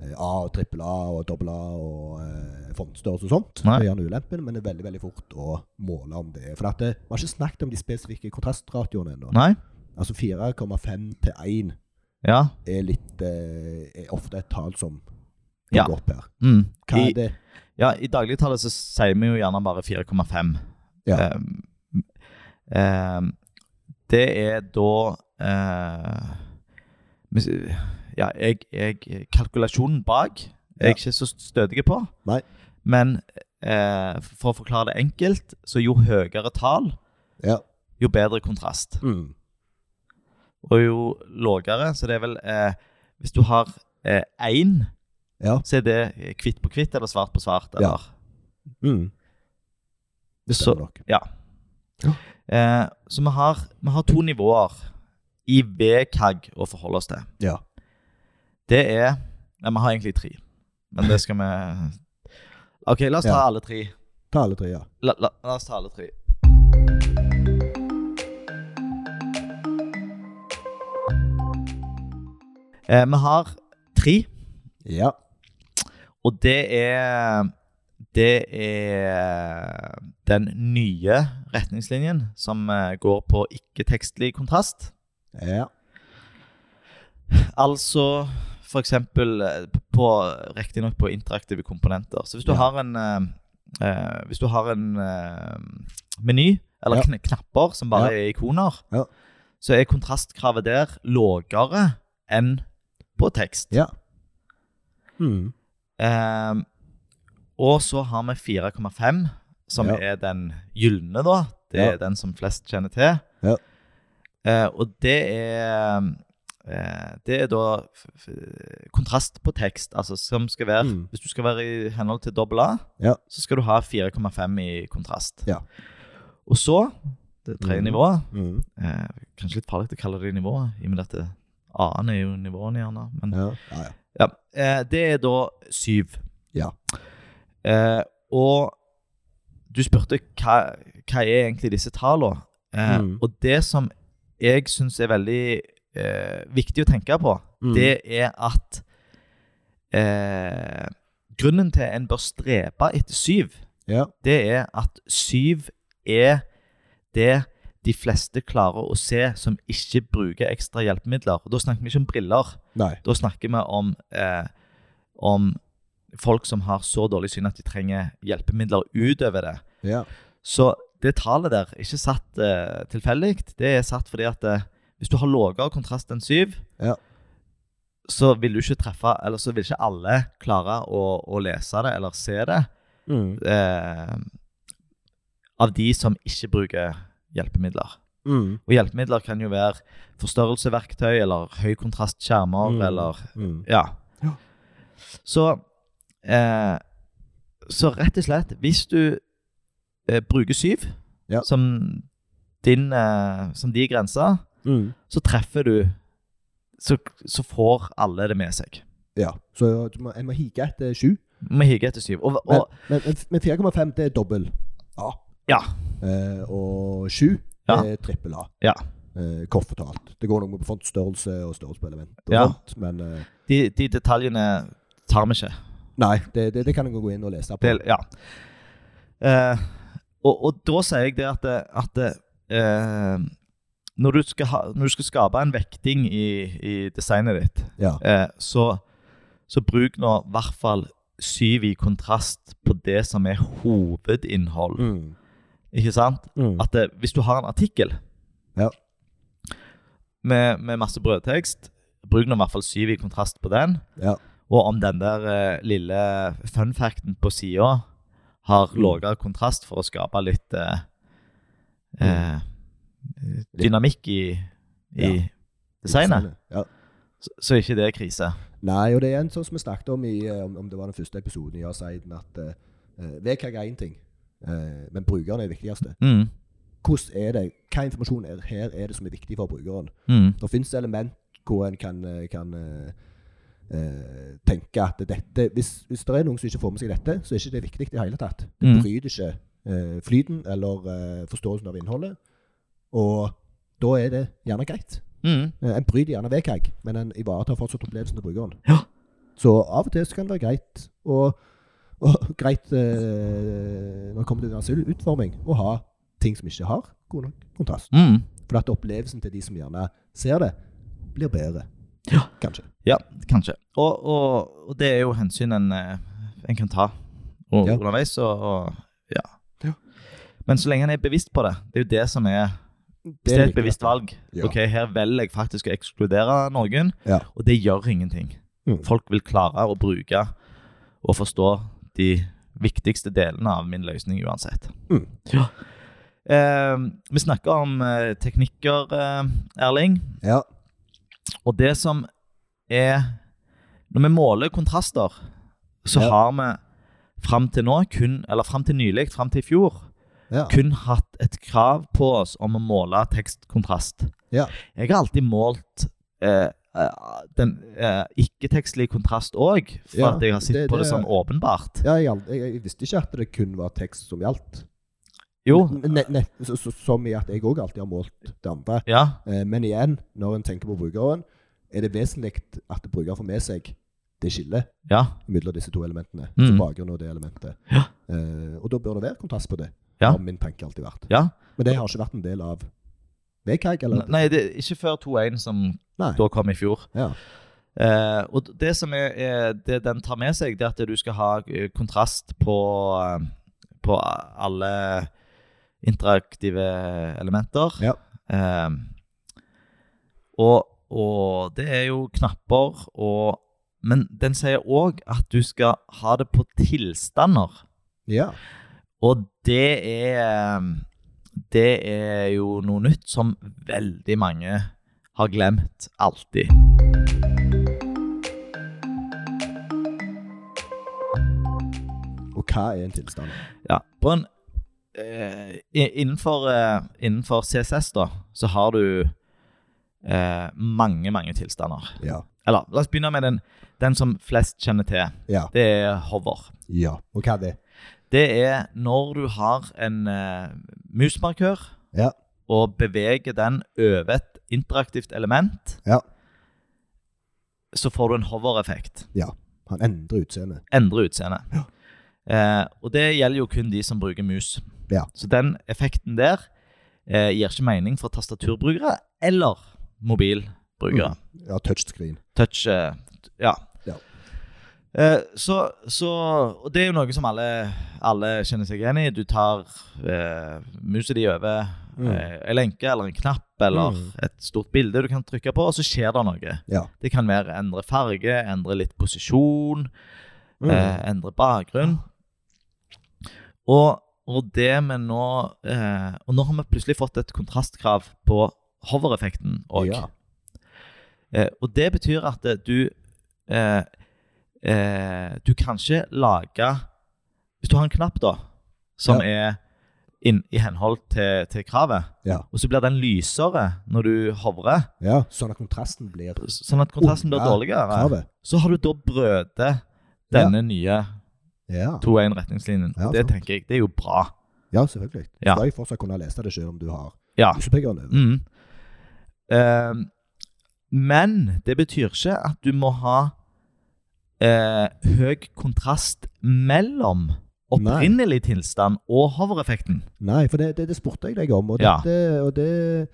eh, A og trippel A og dobbel A og eh, fontstørrelse og sånt. Nei. Det gjør en ulempen, men det er veldig veldig fort å måle om det. er. For at det, vi har ikke snakket om de spesifikke kontrastratioene ennå. Nei. Altså 4,5 til 1 Ja. er, litt, eh, er ofte et tall som Ja. går opp her. Mm. Hva I, er det? ja, I dagligtallet så sier vi jo gjerne bare 4,5. Ja. Ehm, ehm, det er da eh, hvis- Ja, jeg, jeg Kalkulasjonen bak er jeg Ja. ikke så stødig på. Nei. Men eh, For å forklare det enkelt, så jo høyere tall, Ja. jo bedre kontrast. Mm. Og jo lågere, så det er vel eh, Hvis du har eh, én, Ja. så er det hvitt på hvitt eller svart på svart. Ja. Eller, Mm. Det Så- stemmer nok. eh, så vi har, vi har to nivåer i VKAG å forholde oss til. Ja. Det er Nei, vi har egentlig tre, men det skal vi OK, la oss ta Ja. alle tre. Ta alle tre, ja. La, la, la oss ta alle tre. Eh, vi har tre, Ja. og det er Det er den nye retningslinjen som eh, går på ikke-tekstlig kontrast. Ja. Altså for eksempel eh, på Riktignok på interaktive komponenter. Så hvis du Ja. har en eh, eh, Hvis du har en eh, meny, eller Ja. kn knapper som bare er ikoner, Ja. så er kontrastkravet der lågere enn på tekst. Ja. Mm. Eh, og så har vi 4,5, som Ja. er den gylne, da. Det er Ja. den som flest kjenner til. Ja. Eh, og det er eh, Det er da f f kontrast på tekst, altså som skal være Mm. Hvis du skal være i henhold til dobbel A, Ja. så skal du ha 4,5 i kontrast. Ja. Og så det tredje Mhm. nivået Mm. eh, Kanskje litt farlig å kalle det nivået, i og med at det- A-en er jo nivåene, gjerne. Men Ja. Ja, ja. ja. Eh, det er da syv. Ja. Eh, og du spurte hva, hva er egentlig disse tallene? Eh, Mm. Og det som jeg syns er veldig eh, viktig å tenke på, Mm. det er at eh, Grunnen til en bør strebe etter syv, Ja. det er at syv er det de fleste klarer å se som ikke bruker ekstra hjelpemidler. Og da snakker vi ikke om briller. Nei. Da snakker vi om, eh, om folk som har så dårlig syn at de trenger hjelpemidler utover det. Ja. Så det tallet der er ikke satt eh, tilfeldig. Det er satt fordi at eh, hvis du har lavere kontrast enn syv, Ja. så vil du ikke treffe Eller så vil ikke alle klare å, å lese det eller se det Mm. eh, av de som ikke bruker hjelpemidler. Mm. Og hjelpemidler kan jo være forstørrelseverktøy eller høykontrastskjermer Mm. eller Mm. ja. Ja. Så eh, Så rett og slett, hvis du eh, bruker syv Ja. som din eh, Som de grensa, Mm. så treffer du så, så får alle det med seg. Ja. Så du må, jeg må hige etter sju. Vi higer etter syv. Og, Men, og, men, men 4,5 det er dobbel A. Ja. Eh, og 7 det Ja. er trippel A. Ja. Eh, kort fortalt. Det går nok med fontstørrelse og størrelse på element og Ja. sånt, men eh, de, de detaljene tar vi ikke. Nei, det, det, det kan jeg gå inn og lese på. Det, ja. Eh, og, og da sier jeg det at, at eh, når, du skal ha, når du skal skape en vekting i, i designet ditt, Ja. Eh, så, så bruk nå i hvert fall syv i kontrast på det som er hovedinnhold. Mm. Ikke sant? Mm. At eh, hvis du har en artikkel Ja. med, med masse brødtekst, bruk nå i hvert fall syv i kontrast på den. Ja. Og om den der eh, lille fun facten på sida har Mm. lavere kontrast for å skape litt eh, Mm. eh, dynamikk i, i Ja. designet, Ja. så, så ikke det er krise. Nei, og det er en sånn som vi snakket om i eh, om, om det var den første episoden i Aseiden, at uh, VKG er én ting, eh, men brukeren er det viktigste. Mm. Hvordan er det? Hva informasjon er her er det som er viktig for brukeren? Mm. Det finnes element hvor en kan, eh, kan eh, eh, tenke at dette hvis, hvis det er noen som ikke får med seg dette, så er ikke det viktig i det hele tatt. Det Mm. bryter ikke eh, flyten eller eh, forståelsen av innholdet. Og da er det gjerne greit. Mm. Eh, En bryter gjerne VKG, men en ivaretar fortsatt opplevelsen til brukeren. Ja. Så av og til så kan det være greit og, og greit eh, når det kommer til universell utforming, å ha ting som ikke har god nok kontrast. Mm. For at opplevelsen til de som gjerne ser det, blir bedre. Ja. Kanskje. Ja, kanskje. Og, og, og det er jo hensyn en, eh, en kan ta og, Ja. underveis. Og, og ja. Ja. Men så lenge en er bevisst på det, det er jo det som er Hvis det er er viktig, et bevisst dette. valg. Ja. Ok, her velger jeg faktisk å ekskludere noen, Ja. og det gjør ingenting. Mm. Folk vil klare å bruke og forstå de viktigste delene av min løsning uansett. Mm. Ja. Eh, vi snakker om eh, teknikker, eh, Erling. Ja. Og det som er Når vi måler kontraster, så Ja. har vi fram til nå kun Eller fram til nylig, fram til i fjor, ja. kun hatt et krav på oss om å måle tekstkontrast. Ja. Jeg har alltid målt eh, eh, den eh, ikke-tekstlige kontrast òg, for Ja, at jeg har sett det- på det det- sånn åpenbart. ja jeg, al- jeg, jeg visste ikke at det kun var tekst som gjaldt. Jo. Ne, ne, så, så, som i at jeg òg alltid har målt det andre. Ja. Eh, Men igjen, når en tenker på brukeren, er det vesentlig at bruker får med seg det skillet Ja. mellom disse to elementene. Mm. Altså bakgrunnen og det elementet. Ja. Eh, og da bør det være kontrast på det, Ja. har min tanke alltid vært. ja. Men det har ikke vært en del av VKG, eller? Nei, det er ikke før 2-1, som Nei. da kom i fjor. Ja. Eh, og det som er, er det den tar med seg, det er at du skal ha eh, kontrast på, eh, på alle interaktive elementer. Ja. Eh, og, og det er jo knapper og Men den sier òg at du skal ha det på tilstander. ja. Og det er eh, Det er jo noe nytt som veldig mange har glemt alltid. Og hva er en tilstand? Ja, på en eh, i- innenfor, eh, innenfor CSS da, så har du eh, mange, mange tilstander. Ja. Eller, la oss begynne med den, den som flest kjenner til. Ja. Det er hover. ja. Og hva er det? Det er når du har en eh, musmarkør Ja. og beveger den over et interaktivt element, Ja. så får du en hover-effekt. Han endrer utseendet. Endre utseende. Eh, og det gjelder jo kun de som bruker mus. Ja. Så den effekten der eh, gir ikke mening for tastaturbrukere eller mobilbrukere. Ja, touchscreen. Touch eh, t- Ja. Mm. Ja. Eh, så, så Og det er jo noe som alle, alle kjenner seg igjen i. Du tar eh, musa di over Mm. eh, en lenke eller en knapp eller Mm. et stort bilde du kan trykke på, og så skjer det noe. Ja. Det kan være endre farge, endre litt posisjon Mm. eh, endre bakgrunn. Og, og det vi nå eh, Og nå har vi plutselig fått et kontrastkrav på hover-effekten òg. Ja. Eh, og det betyr at eh, du eh, eh, Du kan ikke lage Hvis du har en knapp, da, som er inn, i henhold til, til kravet, Ja. og så blir den lysere når du hovrer, ja. Sånn at kontrasten blir sånn at kontrasten blir Under dårligere, kravet. så har du da brødet denne nye Ja. 2-1-retningslinjen. Ja, det sant. tenker jeg, det er jo bra. ja, selvfølgelig. Du Ja. skal jo fortsatt kunne lese det selv om du har Ja. musepekeren over. Mm. Eh, men det betyr ikke at du må ha eh, høy kontrast mellom opprinnelig tilstand og hover-effekten. Nei, for det, det, det spurte jeg deg om. Og, Ja. dette, og det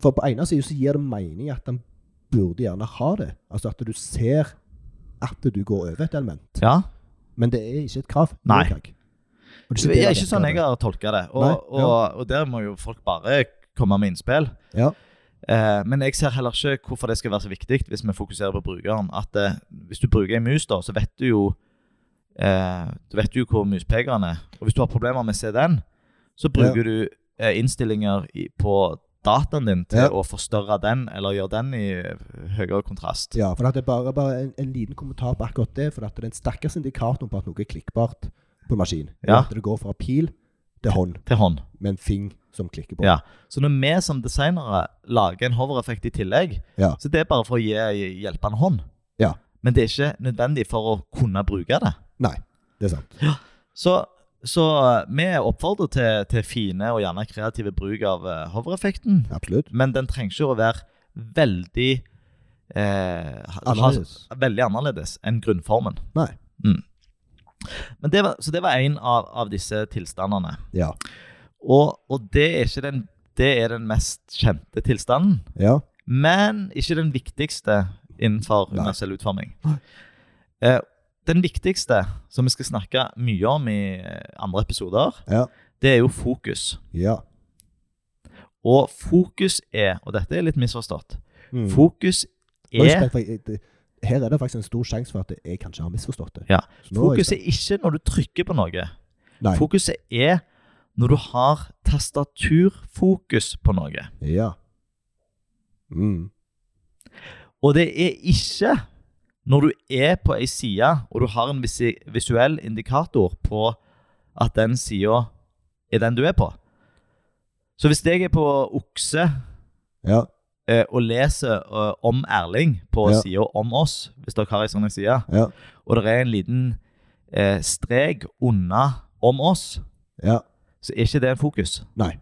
For på ene siden så gir det mening at han burde gjerne ha det. Altså at du ser at du går over et element. Ja. Men det er ikke et krav. Nei. Nei. Og det Det det er jeg ikke sånn jeg tenker. har tolka det. Og, Nei, ja. og, og der må jo folk bare komme med innspill. Ja. Eh, men jeg ser heller ikke hvorfor det skal være så viktig hvis vi fokuserer på brukeren. At eh, Hvis du bruker en mus, da, så vet du jo eh, Du vet jo hvor muspekeren er. Og hvis du har problemer med CDN, så bruker du eh, innstillinger i, på dataen din til Ja. å forstørre den, eller gjøre den i eh, høyere kontrast. ja, for at det er bare, bare en, en liten kommentar på akkurat det. For at det er den sterkeste indikatoren på at noe er klikkbart på en maskin. er Ja. At det går fra pil til hånd Til hånd. med en fing som klikker på. Ja. Så når vi som designere lager en hover-effekt i tillegg, Ja. så det er bare for å gi ei hjelpende hånd. Ja. Men det er ikke nødvendig for å kunne bruke det. Nei, det er sant. Så, så eh, vi oppfordrer til, til fine og gjerne kreative bruk av eh, hover-effekten. Absolutt. Men den trenger ikke å være veldig eh, ha- Annerledes. Ha, veldig annerledes enn grunnformen. Nei. Mm. Men det var, så det var én av, av disse tilstandene. Ja. Og, og det er ikke den det er den mest kjente tilstanden, Ja. men ikke den viktigste innenfor Nei. universell utforming. Nei. Eh, den viktigste, som vi skal snakke mye om i eh, andre episoder, Ja. det er jo fokus. ja. Og fokus er, og dette er litt misforstått Mm. Fokus Nå er jeg er spent, for jeg- det- her er det faktisk en stor sjanse for at jeg kanskje har misforstått det. Ja. Så nå er jeg sånn, Fokuset er ikke når du trykker på noe. spent. Nei. Fokuset er når du har tastaturfokus på noe. Ja. Mm. Og det er ikke når du er på ei side og du har en visi- visuell indikator på at den sida er den du er på. Så hvis jeg er på okse Ja. eh, og leser eh, om Erling på Ja. sida om oss, hvis dere har ei sånn side, Ja. og det er en liten eh, strek unna om oss, Ja. så er ikke det en fokus. Nei.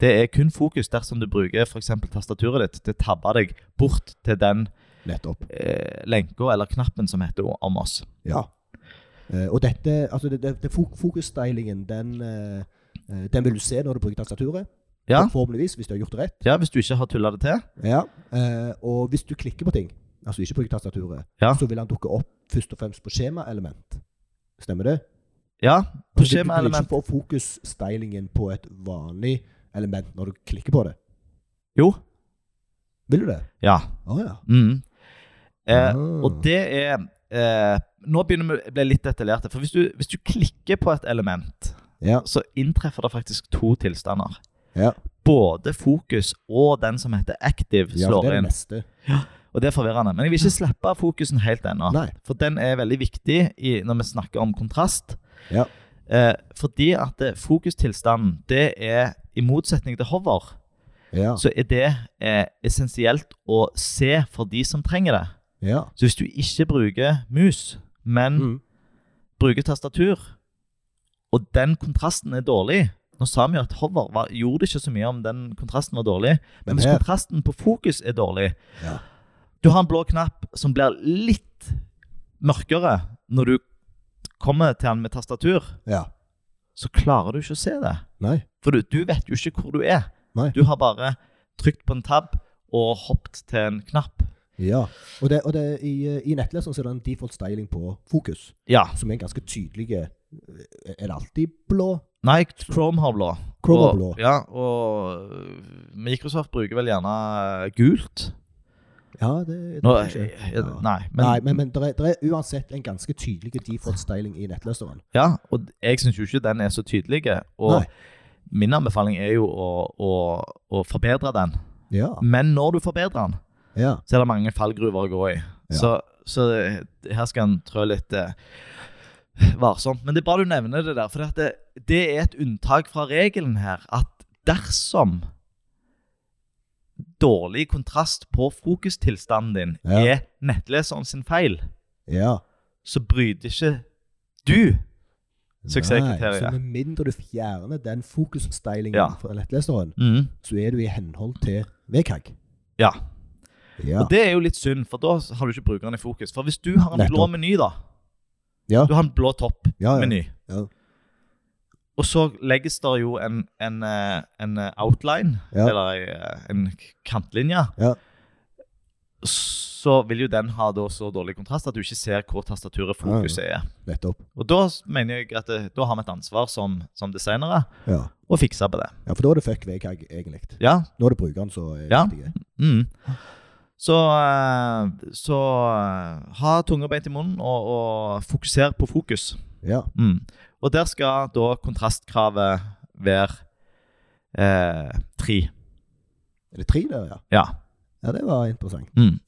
Det er kun fokus dersom du bruker for eksempel tastaturet ditt til å tabbe deg bort til den Nettopp. eh, lenka eller knappen som heter om oss. Ja. Eh, og dette, altså det, det, det fok- fokusstylingen, den, eh, eh, den vil du se når du bruker tastaturet. Ja. Forhåpentligvis, hvis du har gjort det rett. Ja, Hvis du ikke har tulla det til. Ja. Eh, og hvis du klikker på ting, altså ikke bruker tastaturet, Ja. så vil han dukke opp først og fremst på skjemaelement. Stemmer det? Ja, på Altså, du- skjemaelement. Du vil ikke få fokusstylingen på et vanlig element når du klikker på det. Jo. Vil du det? Ja. Å ja. Mm. Eh, Ah. Og det er eh, Nå begynner vi å bli litt detaljerte. For hvis du, hvis du klikker på et element, ja. så inntreffer det faktisk to tilstander. Ja. Både fokus og den som heter active, ja, for slår det er det Mm. inn. neste. Og det er forvirrende. Men jeg vil ikke slippe fokusen helt ennå. Nei. For den er veldig viktig i, når vi snakker om kontrast. Ja. Eh, fordi at eh, fokustilstanden, det er i motsetning til hover, Ja. så er det eh, essensielt å se for de som trenger det. ja. Så hvis du ikke bruker mus, men Mm. bruker tastatur, og den kontrasten er dårlig Nå sa vi jo at hover var, gjorde ikke så mye om den kontrasten var dårlig, men, Men hvis her- kontrasten på fokus er dårlig Ja. Du har en blå knapp som blir litt mørkere når du kommer til den med tastatur, ja. så klarer du ikke å se det. Nei. For du, du vet jo ikke hvor du er. Nei. Du har bare trykt på en tab og hoppet til en knapp. Ja. Og, det, og det, i, eh, i nettleseren så er det en default styling på fokus, Ja. som er ganske tydelig. eh, Er det alltid blå? Nei, Chrome har blå. Chrome har Og- blå. Ja, og øh, Microsoft bruker vel gjerne øh, gult. Ja, det, det Nå, er ikke. øh, Ja. Nei, men, Nei, men, men det, er, det er uansett en ganske tydelig default styling i nettleseren. Ja, og jeg syns jo ikke den er så tydelig. Og Nei. min anbefaling er jo å, å, å forbedre den. Ja. Men når du forbedrer den, Ja. så er det mange fallgruver å gå i. Ja. Så, så det- her skal en trå litt eh, varsomt. Men det er bra du nevner det der, for det, at det, det er et unntak fra regelen her. At dersom dårlig kontrast på fokustilstanden din Ja. er nettleseren sin feil, ja. så bryter ikke du Suksesskriteriet. Nei, Så med mindre du fjerner den fokusstylingen Ja. fra nettleseren, Mhm. så er du i henhold til VKG. Ja. Ja. Og det er jo litt synd, for da har du ikke brukeren i fokus. For hvis du har en blå Nettopp. meny, da Ja. Du har en blå topp-meny. Ja, ja. Ja. Og så legges det jo en, en, eh, en eh, outline, Ja. eller ei, eh, en k- kantlinje. Ja. Så vil jo den ha da så dårlig kontrast at du ikke ser hvor tastaturet fokuset er. Nettopp. Og da s- mener jeg at det, da har vi et ansvar som, som designere Ja. å fikse på det. ja, for da er det fuck VKG, egentlig. Ja, Nå er det brukeren som er Ja. viktig. Mm. Så, eh, så eh, ha tunga beint i munnen og, og fokuser på fokus. Ja. Mm. Og der skal da kontrastkravet være eh, tre. Er det tre der, ja? Ja. Ja, det var interessant. Mm.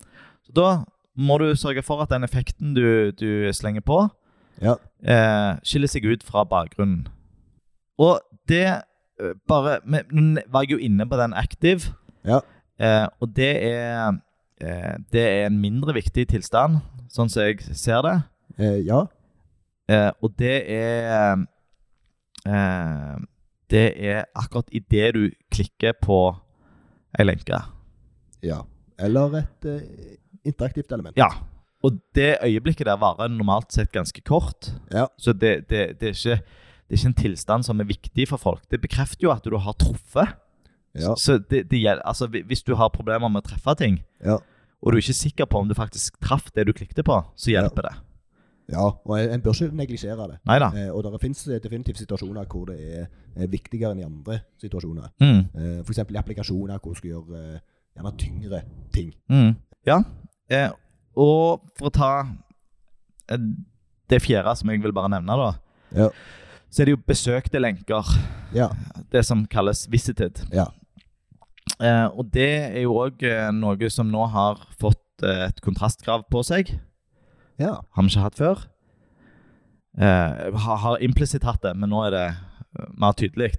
Så da må du sørge for at den effekten du, du slenger på, Ja. eh, skiller seg ut fra bakgrunnen. Og det eh, bare men Nå var jeg jo inne på den active, Ja. eh, og det er, eh, det er en mindre viktig tilstand, sånn som jeg ser det. Eh, ja. Eh, og det er eh, Det er akkurat idet du klikker på ei lenke. ja. Eller et eh, interaktivt element. Ja. Og det øyeblikket der varer normalt sett ganske kort. Ja. Så det, det, det, er ikke, det er ikke en tilstand som er viktig for folk. Det bekrefter jo at du har truffet. Ja. Så det, det gjelder, altså, hvi- hvis du har problemer med å treffe ting, Ja. og du er ikke sikker på om du faktisk traff det du klikket på, så hjelper det. ja. Og en en bør ikke neglisjere det. Nei da. Eh, og det finnes definitivt situasjoner hvor det er eh, viktigere enn i andre situasjoner. Mm, Eh, for eksempel i applikasjoner hvor du skal gjøre eh, gjerne tyngre ting. mm. Ja. Eh, og for å ta eh, det fjerde som jeg vil bare nevne, da, Ja. så er det jo besøkte lenker. Ja. Det som kalles visited. Ja. Eh, og det er jo òg eh, noe som nå har fått eh, et kontrastkrav på seg. ja. Har vi ikke hatt før. Eh, har har implisitt hatt det, men nå er det eh, mer tydelig.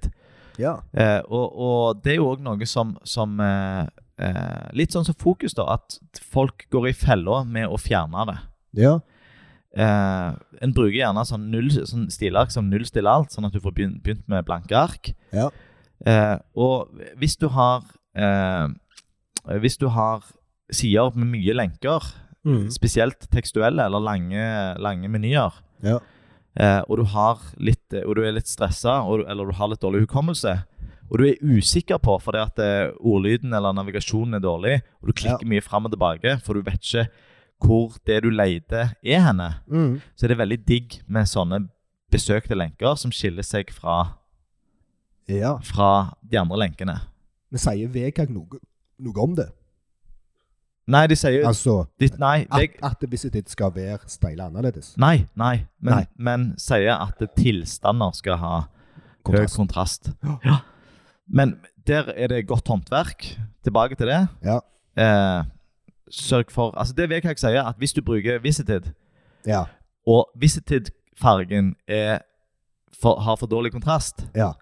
ja. Eh, og, og det er jo òg noe som, som eh, eh, Litt sånn som fokus, da. At folk går i fella med å fjerne det. ja. Eh, en bruker gjerne sånn, null, sånn stilark som nullstiller alt, sånn at du får begynt, begynt med blanke ark. Ja. Eh, og hvis du har eh, Hvis du har sider med mye lenker, Mm. spesielt tekstuelle eller lange, lange menyer, Ja. eh, og du, har litt, eh, og du er litt stressa og du- eller du har litt dårlig hukommelse, og du er usikker på fordi at eh, ordlyden eller navigasjonen er dårlig, og du klikker Ja. mye fram og tilbake, for du vet ikke hvor det du leter, er henne, Mm. så er det veldig digg med sånne besøkte lenker som skiller seg fra, ja. fra de andre lenkene. Men sier Vegard noe, noe om det? Nei, de sier jo Altså de- Nei, at, det, at visited skal være steile annerledes? nei, nei, men, Nei. men sier at tilstander skal ha Kontrast. Høy kontrast. Ja. Ja. Men der er det godt håndverk. Tilbake til det. Ja. Eh, sørg for Altså, det vil jeg ikke si, at hvis du bruker Visited, Ja. og Visited-fargen er for, har for dårlig kontrast, ja.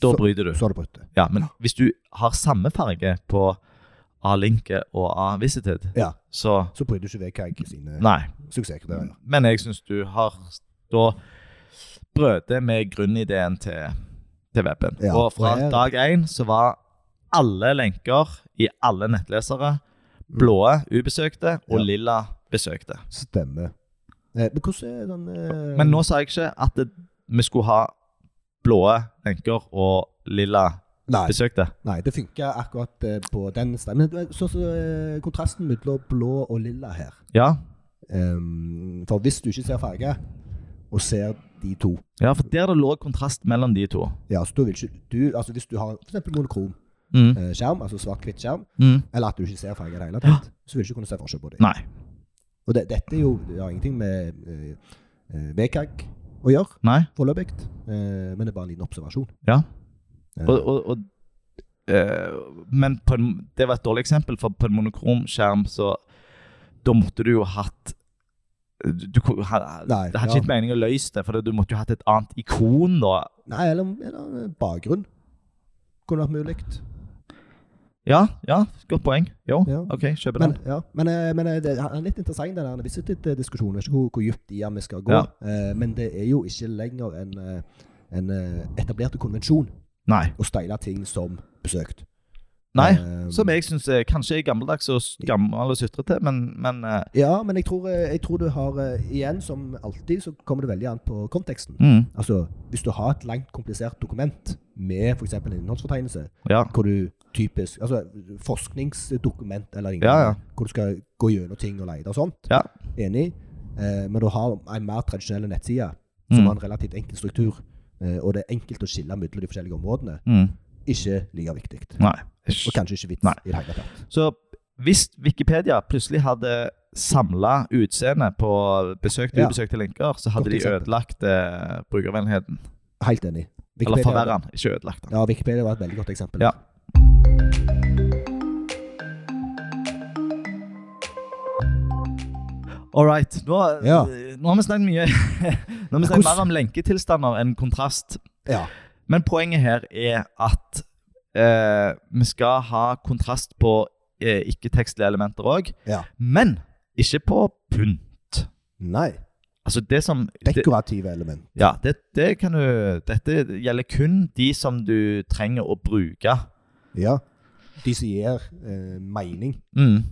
da Så- bryter du. Så har du brutt det. Ja, men hvis du har samme farge på A-Linke og A-Visited, Ja. så Så bryr du ikke Vegard sine Nei. suksesskriterier. Men jeg syns du har da brødet med grunnideen til, til webben. Ja, og fra og her- dag én så var alle lenker i alle nettlesere blåe ubesøkte og Ja. lilla besøkte. Stemmer. Eh, Men hvordan er den eh, Men nå sa jeg ikke at det, vi skulle ha blåe lenker og lilla Nei. besøkte. Nei, det funker akkurat eh, på den stemmen. Men eh, sånn som eh, kontrasten mellom blå og lilla her. Ja. Ehm, for hvis du ikke ser farge, og ser de to ja, for der det lå kontrast mellom de to. ja, så da vil ikke du, altså Hvis du har for eksempel monokrom Mm. eh, skjerm, altså svart-hvitt skjerm, Mm. eller at du ikke ser farge i det hele tatt, så vil du ikke kunne se forskjell på dem. Nei. Og det, dette er jo, det har ingenting med eh, eh, VKG å gjøre Nei. foreløpig, eh, men det er bare en liten observasjon. Ja. Eh, Og, og, og, eh, men på en, det var et dårlig eksempel, for på en monokrom skjerm så Da måtte du jo hatt du, du, kunne ha- Nei, Det hadde ja. ikke gitt mening å løse det, for du måtte jo hatt et annet ikon da. Nei, eller, eller eh, bakgrunn kunne vært mulig. Ja, ja, godt poeng. Jo, Ja. OK, kjøper Men, den. ja, men, eh, men eh, det er litt interessant den der visited-diskusjonen. Jeg eh, vet ikke hvor, hvor dypt i den vi skal gå. Ja. Eh, Men det er jo ikke lenger en, eh, en eh, etablert konvensjon Nei. å steile ting som besøkt. Nei. Eh, Som jeg syns kanskje er gammeldags og s- gammel og sutrete, men, men eh, Ja, men jeg tror, eh, jeg tror du har eh, Igjen, som alltid, så kommer det veldig an på konteksten. mm, Altså, Hvis du har et langt, komplisert dokument med f.eks. en innholdsfortegnelse, Ja. hvor du typisk Altså forskningsdokument eller lignende, Ja, ja. hvor du skal gå gjennom ting og lete og sånt. Ja. Enig. Eh, men du har en mer tradisjonell nettside som Mm. har en relativt enkel struktur, eh, og det er enkelt å skille mellom de forskjellige områdene. Mm, Ikke like viktig. nei. Og kanskje ikke vits Nei. i det hele tatt. Så hvis Wikipedia plutselig hadde samla utseendet på besøkte og Ja. ubesøkte lenker, så hadde Godt de eksempel. ødelagt eh, brukervennligheten. Helt enig. Eller forverra den, ikke ødelagt den. Ja, Wikipedia var et veldig godt eksempel. Ja. All right. Nå, Ja. nå har vi snakket mye Nå har vi snakket Hvordan- mer om lenketilstander enn kontrast. Ja. Men poenget her er at eh, vi skal ha kontrast på eh, ikke-tekstlige elementer òg. Ja. Men ikke på pynt. Nei. Altså det som det, Dekorative element. Ja, det, det kan du Dette gjelder kun de som du trenger å bruke. Ja. De som gir eh, mening, Mm.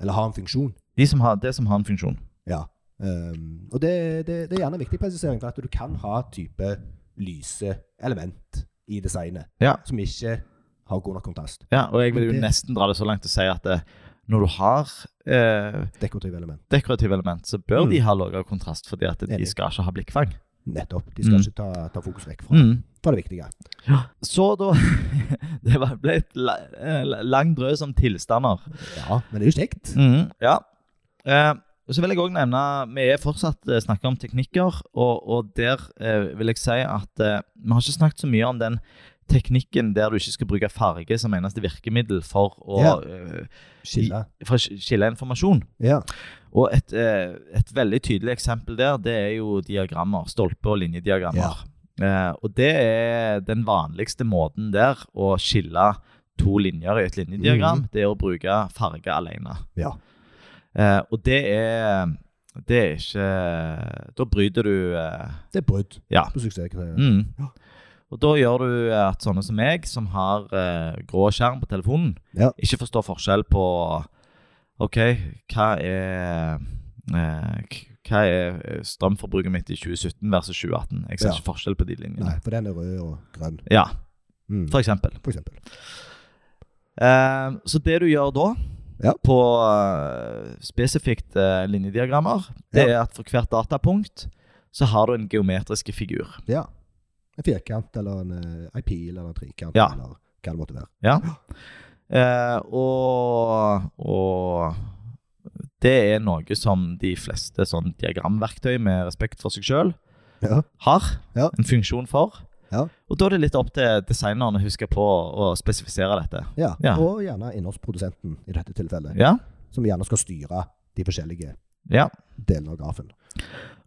eller har en funksjon. De som har, det som har en funksjon. Ja. Ehm, og det, det, det er gjerne en viktig presisering, for at du kan ha type lyse element i designet Ja. som ikke har god nok kontrast. Ja, og jeg vil jo Men det- nesten dra det så langt til å si at eh, når du har eh, Dekorative element. dekorative element, så bør Mm. de ha lavere kontrast, fordi at de Enig. skal ikke ha blikkfang. Nettopp. De skal Mm. ikke ta, ta fokus vekk fra, Mm. fra det viktige. Så da Det var- ble et la- eh, lang drøs om tilstander. Ja, men det er jo kjekt. Mm. Ja. Eh, og så vil jeg òg nevne Vi er fortsatt eh, snakker om teknikker, og, og der eh, vil jeg si at eh, vi har ikke snakket så mye om den teknikken der du ikke skal bruke farge som eneste virkemiddel for å, Ja. eh, Skille. for å sk- skille informasjon. Ja. Og et, eh, et veldig tydelig eksempel der, det er jo diagrammer. Stolpe- og linjediagrammer. Eh, og det er den vanligste måten der å skille to linjer i et linjediagram. Det er å bruke farge alene. Mhm. Ja. Eh, og det er Det er ikke Da bryter du eh, Det er brudd Ja. på suksesskriteriet. mm. Ja. Og da gjør du at sånne som meg, som har eh, grå skjerm på telefonen, Ja. ikke forstår forskjell på OK, hva er eh, k- Hva er eh, strømforbruket mitt i 2017 versus 2018? Jeg ser Ja. ikke forskjell på de linjene. Nei, for den er rød og grønn, Ja, mm. for eksempel. for eksempel. Eh, så det du gjør da, Ja. på eh, spesifikt eh, linjediagrammer, det er at for hvert datapunkt så har du en geometrisk figur. Ja. En firkant eller en eh, ei pil eller en trikant Ja. eller hva det måtte være. Eh, og, og det er noe som de fleste sånn diagramverktøy med respekt for seg sjøl Ja. har Ja. en funksjon for. Ja. Og da er det litt opp til designeren å huske på å spesifisere dette. Ja. Ja. Og gjerne innholdsprodusenten i dette tilfellet, Ja, som gjerne skal styre de forskjellige ja. delene av grafen.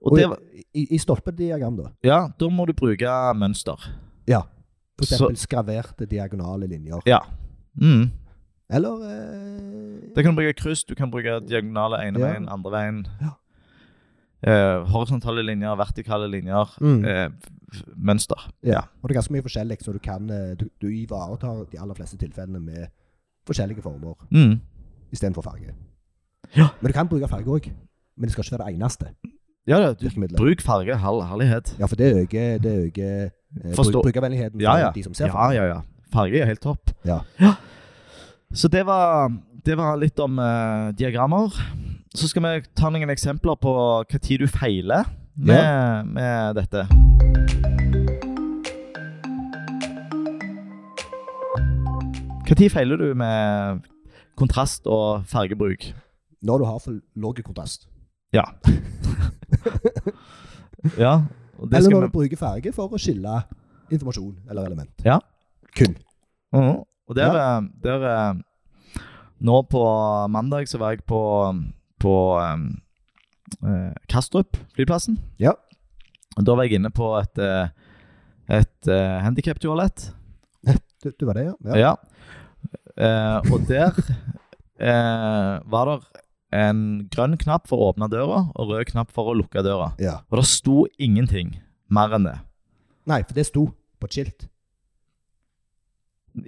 Og det, i, i, i stolpediagram, da. ja, da må du bruke mønster. Ja. For Så- eksempel skraverte diagonale linjer. Ja. Mm. Eller eh, Da kan du bruke kryss, du kan bruke diagonale ene Ja. veien, andre veien. Ja. Eh, horisontale linjer, vertikale linjer, Mm. eh, f- mønster. ja. Og det er ganske mye forskjellig, så du kan eh, Du, du ivaretar de aller fleste tilfellene med forskjellige former Mm. istedenfor farge. Ja. Men du kan bruke farge òg. Men det skal ikke være det eneste Ja, ja, du, virkemidlet. bruk farge, herl herlighet. Ja, for det øker, det øker eh, Forstå- bruk- brukervennligheten for Ja, ja. de som ser Ja, ja, ja. Farge er helt topp. Ja. Så det var, det var litt om eh, diagrammer. Så skal vi ta noen eksempler på hva tid du feiler med, med dette. Hva tid feiler du med kontrast og fargebruk? Når du har for lav kontrast. Ja. ja, og det Eller skal når vi... du bruker farge for å skille informasjon eller element. Ja. Kun. Mhm. Og der, eh, der eh, Nå på mandag så var jeg på, på eh, eh, Kastrup, flyplassen. Ja. Og da var jeg inne på et, eh, et eh, handicap-toalett. Du, du var det, ja? Ja. Eh, og der eh, var det en grønn knapp for å åpne døra og rød knapp for å lukke døra. ja. Og det sto ingenting mer enn det. Nei, for det sto på et skilt.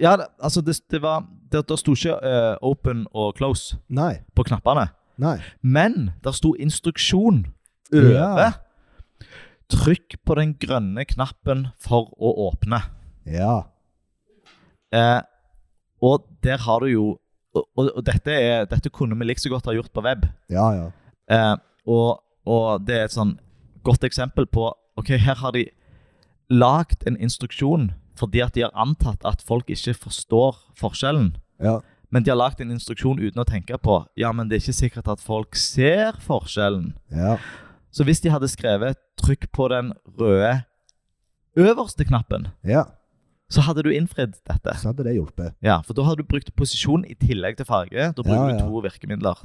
Ja, det, altså det, det var Det, det sto ikke eh, open og close Nei. på knappene. Nei. Men der sto instruksjon over. Ja. Trykk på den grønne knappen for å åpne. Ja. Eh, og der har du jo Og, og, og dette, er, dette kunne vi like så godt ha gjort på web. Ja, ja. Eh, og, og det er et sånn godt eksempel på Ok, her har de lagd en instruksjon fordi at de har antatt at folk ikke forstår forskjellen. Ja. Men de har lagd en instruksjon uten å tenke på Ja, men det er ikke sikkert at folk ser forskjellen. ja. Så hvis de hadde skrevet 'trykk på den røde øverste knappen', ja. så hadde du innfridd dette. Så hadde det hjulpet. Ja, For da hadde du brukt posisjon i tillegg til farge. Da bruker Ja, du ja. to virkemidler.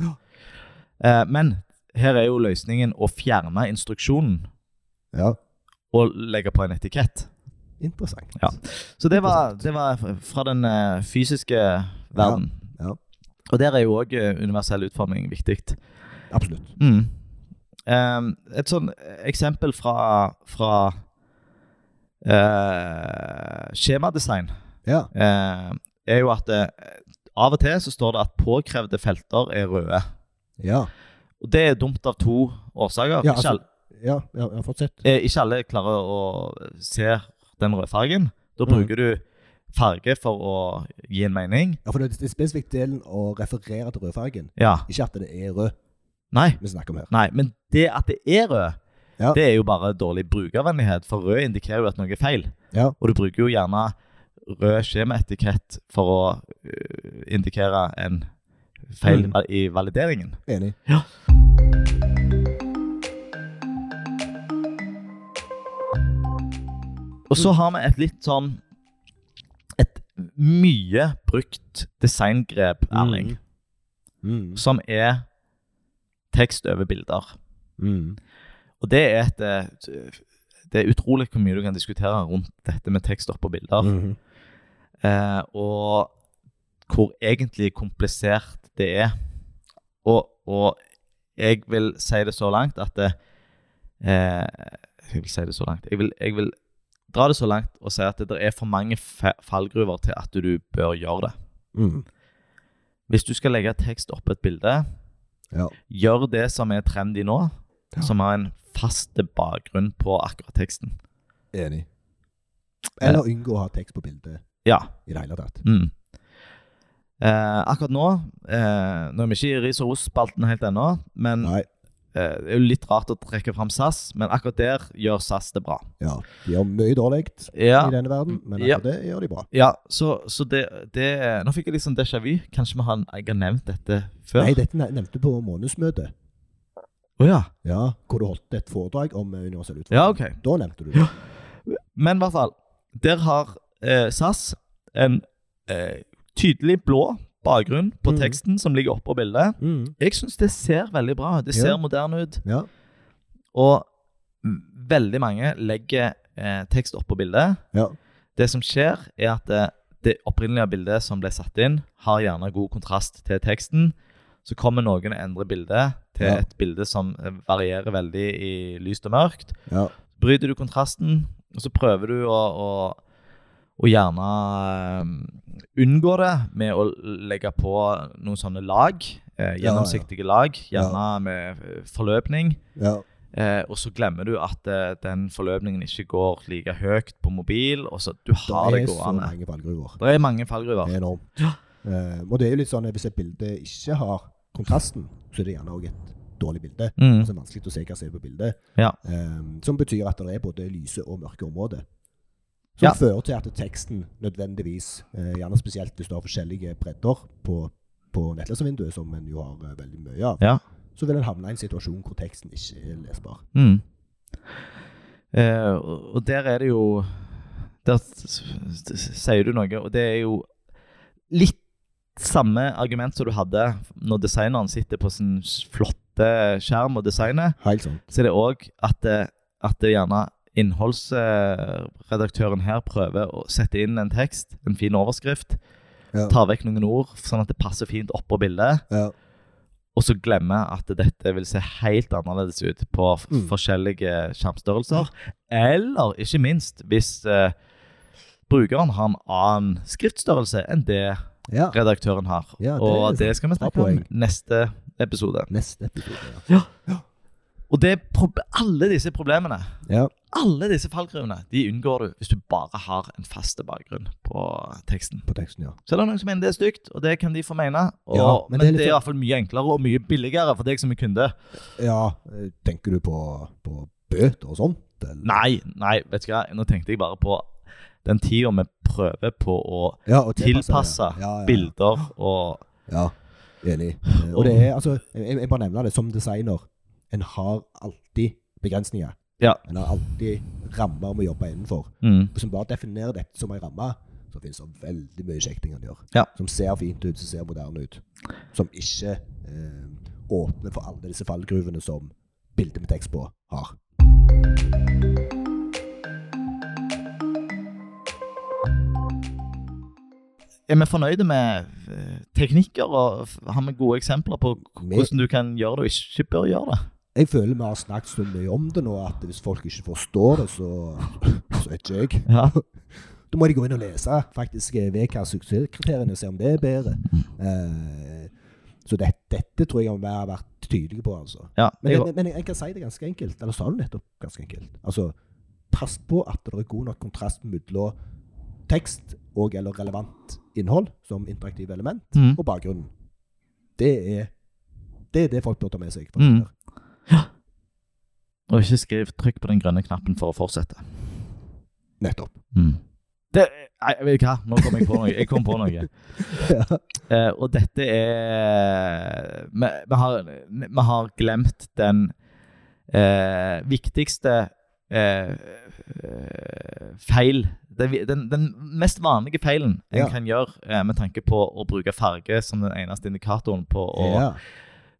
Eh, men her er jo løsningen å fjerne instruksjonen Ja. og legge på en etikett. Interessant. Ja. Så det var, det var fra den eh, fysiske verden. Ja, ja. Og der er jo òg universell utforming viktig. Absolutt. Mm. Ehm, et sånn eksempel fra, fra eh, skjemadesign Ja. eh, er jo at eh, av og til så står det at påkrevde felter er røde. Ja. Og det er dumt av to årsaker. Ja, ikke, altså- alle, Ja, ja, ja fortsett. eh, ikke alle klarer å se den rødfargen. Da Mm. bruker du farge for å gi en mening. Ja, for det er spesifikt delen å referere til rødfargen. Ja. Ikke at det er rød Nei. vi snakker om her. Nei, men det at det er rød, Ja. det er jo bare dårlig brukervennlighet, for rød indikerer jo at noe er feil. Ja. Og du bruker jo gjerne rød skjemaetikett for å øh, indikere en feil Mm. i valideringen. Enig. Og så har vi et litt sånn Et mye brukt designgrep, Erling, Mm. som er tekst over bilder. Mm. Og det er et eh, Det er utrolig hvor mye du kan diskutere rundt dette med tekst oppå bilder. Mhm. eh, og hvor egentlig komplisert det er. Og, og jeg vil si det så langt at det, eh, Jeg vil si det så langt. Jeg vil, jeg vil dra det så langt og si at det, der er for mange fe- fallgruver til at du bør gjøre det. Mm. Hvis du skal legge tekst oppå et bilde, Ja. gjør det som er trendy nå, Ja. som har en fast bakgrunn på akkurat teksten. Enig. Eller unngå å ha tekst på bildet Eh. Ja. i det hele tatt. Mm. Eh, akkurat nå eh, Nå er vi ikke i ris og ros-spalten helt ennå, men eh, Nei. det er jo litt rart å trekke fram SAS, men akkurat der gjør SAS det bra. Ja. De gjør mye dårlig Ja, i denne verden, men Ja. akkurat det gjør de bra. ja så, så det, det Nå fikk jeg litt sånn déjà vu. Kanskje vi har, jeg har nevnt dette før? Nei, dette ne- nevnte du på månedsmøtet. Å ja. Ja, hvor du holdt et foredrag om eh, universell utforming. ja, ok. Da nevnte du det. Men i hvert fall, der har eh, SAS en eh, tydelig blå bakgrunn på Mhm. teksten som ligger oppå bildet. Mm. Jeg syns det ser veldig bra ut. Det Ja. ser moderne ut. Ja. Og m- veldig mange legger eh, tekst oppå bildet. Ja. Det som skjer, er at eh, det opprinnelige bildet som ble satt inn, har gjerne god kontrast til teksten. Så kommer noen og endrer bildet til Ja. et bilde som eh, varierer veldig i lyst og mørkt. ja. Bryter du kontrasten, og så prøver du å, å, å gjerne eh, unngå det med å legge på noen sånne lag. Eh, Ja, ja. gjennomsiktige lag, gjerne med eh, forløpning. ja. Eh, og så glemmer du at eh, den forløpningen ikke går like høyt på mobil. Og så du har Det det er så gående. mange valgruer. Det er mange fallgruver. Det er enormt. Eh, og det er jo litt sånn at hvis et bilde ikke har kontrasten, så er det gjerne òg et dårlig bilde. Mm. Altså vanskelig å se hva som er på bildet. Ja. Eh, som betyr at det er både lyse og mørke områder. Som Ja. fører til at teksten nødvendigvis, eh, gjerne spesielt hvis du har forskjellige bredder på, på nettleservinduet, som en jo har eh, veldig mye av, Ja. så vil en havne i en situasjon hvor teksten ikke er lesbar. Mm. Eh, og og der er det jo Der s- s- s- sier du noe, og det er jo litt samme argument som du hadde når designeren sitter på sin s- flotte skjerm og designer. Helt sant. så er det òg at, eh, at det gjerne innholdsredaktøren her prøver å sette inn en tekst, en fin overskrift, Ja. tar vekk noen ord, sånn at det passer fint oppå bildet, Ja. og så glemmer at dette vil se helt annerledes ut på f- Mm. forskjellige skjermstørrelser. Eller ikke minst hvis eh, brukeren har en annen skriftstørrelse enn det ja. redaktøren har. Ja, det er og sant. det skal vi Bra snakke om poeng. neste episode. Neste episode, ja. Og det er prob- alle disse problemene ja. Alle disse fallgruvene de unngår du hvis du bare har en faste bakgrunn på teksten. På teksten, ja. Så er det noen som mener det er stygt, og det kan de få mene. Og, Ja, men men, det det er litt er i sånn- hvert fall mye enklere og mye billigere for deg som er kunde. Ja, eh, tenker du på, på bøter og sånt? eller? Nei, nei, vet du hva. Nå tenkte jeg bare på den tida vi prøver på å Ja, og tilpasse ja. Ja, ja, ja. bilder og Ja, enig. Eh, Og det er, altså, jeg, jeg bare nevner det, som designer, en har alltid begrensninger. Ja. En har alltid rammer om å jobbe innenfor. mm, Hvis en bare definerer dette som en ramme, så finnes det veldig mye kjekt ting en gjør. Ja. Som ser fint ut, som ser moderne ut. Som ikke eh, åpner for alle disse fallgruvene som bildet med tekst på har. Er vi fornøyde med eh, teknikker, og f- har vi gode eksempler på k- Vi- hvordan du kan gjøre det og ikke bør gjøre det? Jeg føler vi har snakket så mye om det nå at hvis folk ikke forstår det, så, så vet ikke jeg. Ja. Da må de gå inn og lese faktisk eh, VKs suksesskriteriene og se om det er bedre. Eh, så det, dette tror jeg vi har vært tydelige på, altså. Ja, Men, jeg, jeg, men jeg, jeg kan si det ganske enkelt. Eller sa du nettopp ganske enkelt? Altså, pass på at det er god nok kontrast mellom tekst og eller relevant innhold som interaktive element, mm. og bakgrunnen. Det er det, er det folk bør ta med seg. fra Mm. det her. Og ikke skriv 'trykk på den grønne knappen for å fortsette'. Mm. Nettopp. Det, nei, jeg vet hva, nå kom jeg på noe. Jeg kom på noe. Ja. Eh, og dette er Vi, vi, har, vi har glemt den eh, viktigste eh, eh, feil den, vi- den, den mest vanlige feilen en Ja. kan gjøre eh, med tanke på å bruke farge som den eneste indikatoren på, å, Ja.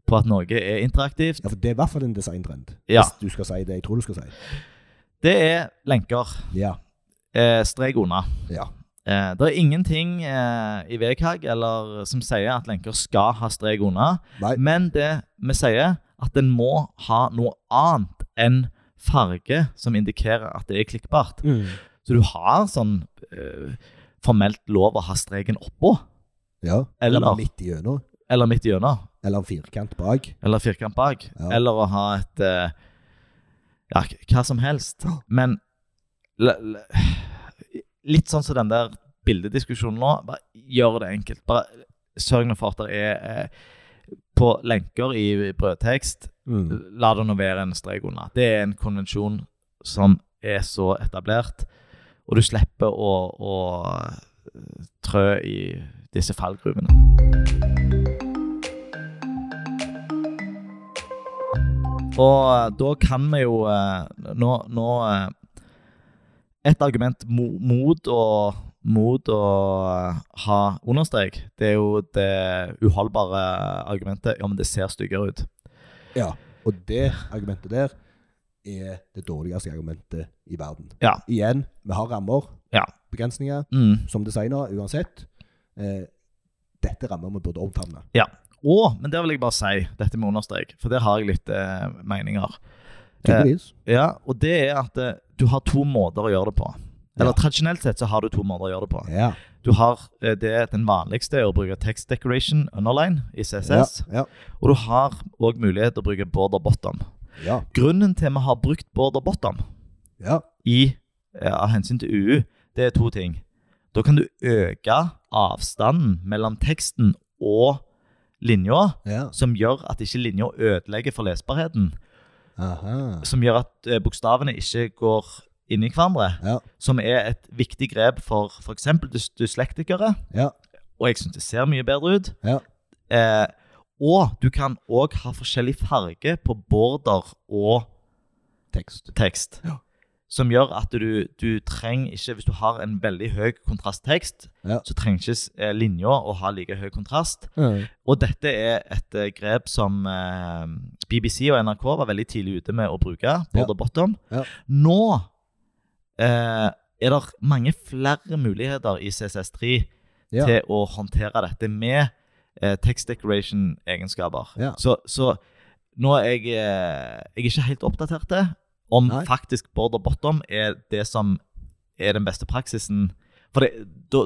på at noe er interaktivt. ja, for det er i hvert fall en designtrend. Ja. Hvis du skal si det jeg tror du skal si. Det er lenker. Ja. Eh, strek unna. Ja. Eh, det er ingenting eh, i VKG eller, som sier at lenker skal ha strek unna. Nei. Men det vi sier, at den må ha noe annet enn farge som indikerer at det er klikkbart. Mm. Så du har sånn eh, formelt lov å ha streken oppå, ja. Eller- Eller midt igjennom. eller midt igjennom, Eller en firkant bak. eller firkant bak, Ja. eller å ha et eh, Ja, k- hva som helst. Men l- l- litt sånn som den der bildediskusjonen nå, bare gjør det enkelt. Bare sørg nå for at det er eh, på lenker i brødtekst Mm. La det nå være en strek unna. Det er en konvensjon som er så etablert, og du slipper å, å eh, trø i disse fallgruvene. Og eh, da kan vi jo eh, nå, nå eh, Et argument mo- mot å, mot å eh, ha understrek, det er jo det uholdbare argumentet Ja, men det ser styggere ut. Ja. Og det argumentet der er det dårligste argumentet i verden. Ja. Igjen, vi har rammer, Ja. begrensninger, Mm. som designer uansett. Eh, dette er rammer vi burde omfavne. Og, men der vil jeg bare si, dette med understrek, for der har jeg litt eh, meninger. Eh, Tydeligvis. Ja, Og det er at eh, du har to måter å gjøre det på. Eller Ja. tradisjonelt sett så har du to måter å gjøre det på. Ja. Du har eh, det den vanligste er å bruke text decoration underline i Ja. CSS. Ja. Og du har òg mulighet til å bruke border bottom. ja. Grunnen til vi har brukt border bottom ja. i, eh, av hensyn til UU, det er to ting. Da kan du øke avstanden mellom teksten og linja ja. som gjør at ikke linja ødelegger for lesbarheten. Aha. Som gjør at eh, bokstavene ikke går inn i hverandre. Ja. Som er et viktig grep for f.eks. dyslektikere. Ja. Og jeg syns det ser mye bedre ut. Ja. Eh, og du kan òg ha forskjellig farge på border og Tekst. tekst. Ja. Som gjør at du, du trenger ikke Hvis du har en veldig høy kontrasttekst, Ja. så trenger ikke eh, linja å ha like høy kontrast. Og dette er et eh, grep som eh, BBC og NRK var veldig tidlig ute med å bruke. Border bottom. Ja. Nå eh, er det mange flere muligheter i CSS3 Ja. til å håndtere dette med eh, text decoration-egenskaper. Ja. Så, så nå er jeg, eh, jeg er ikke helt oppdatert til om Nei. faktisk border bottom er det som er den beste praksisen. For det, da,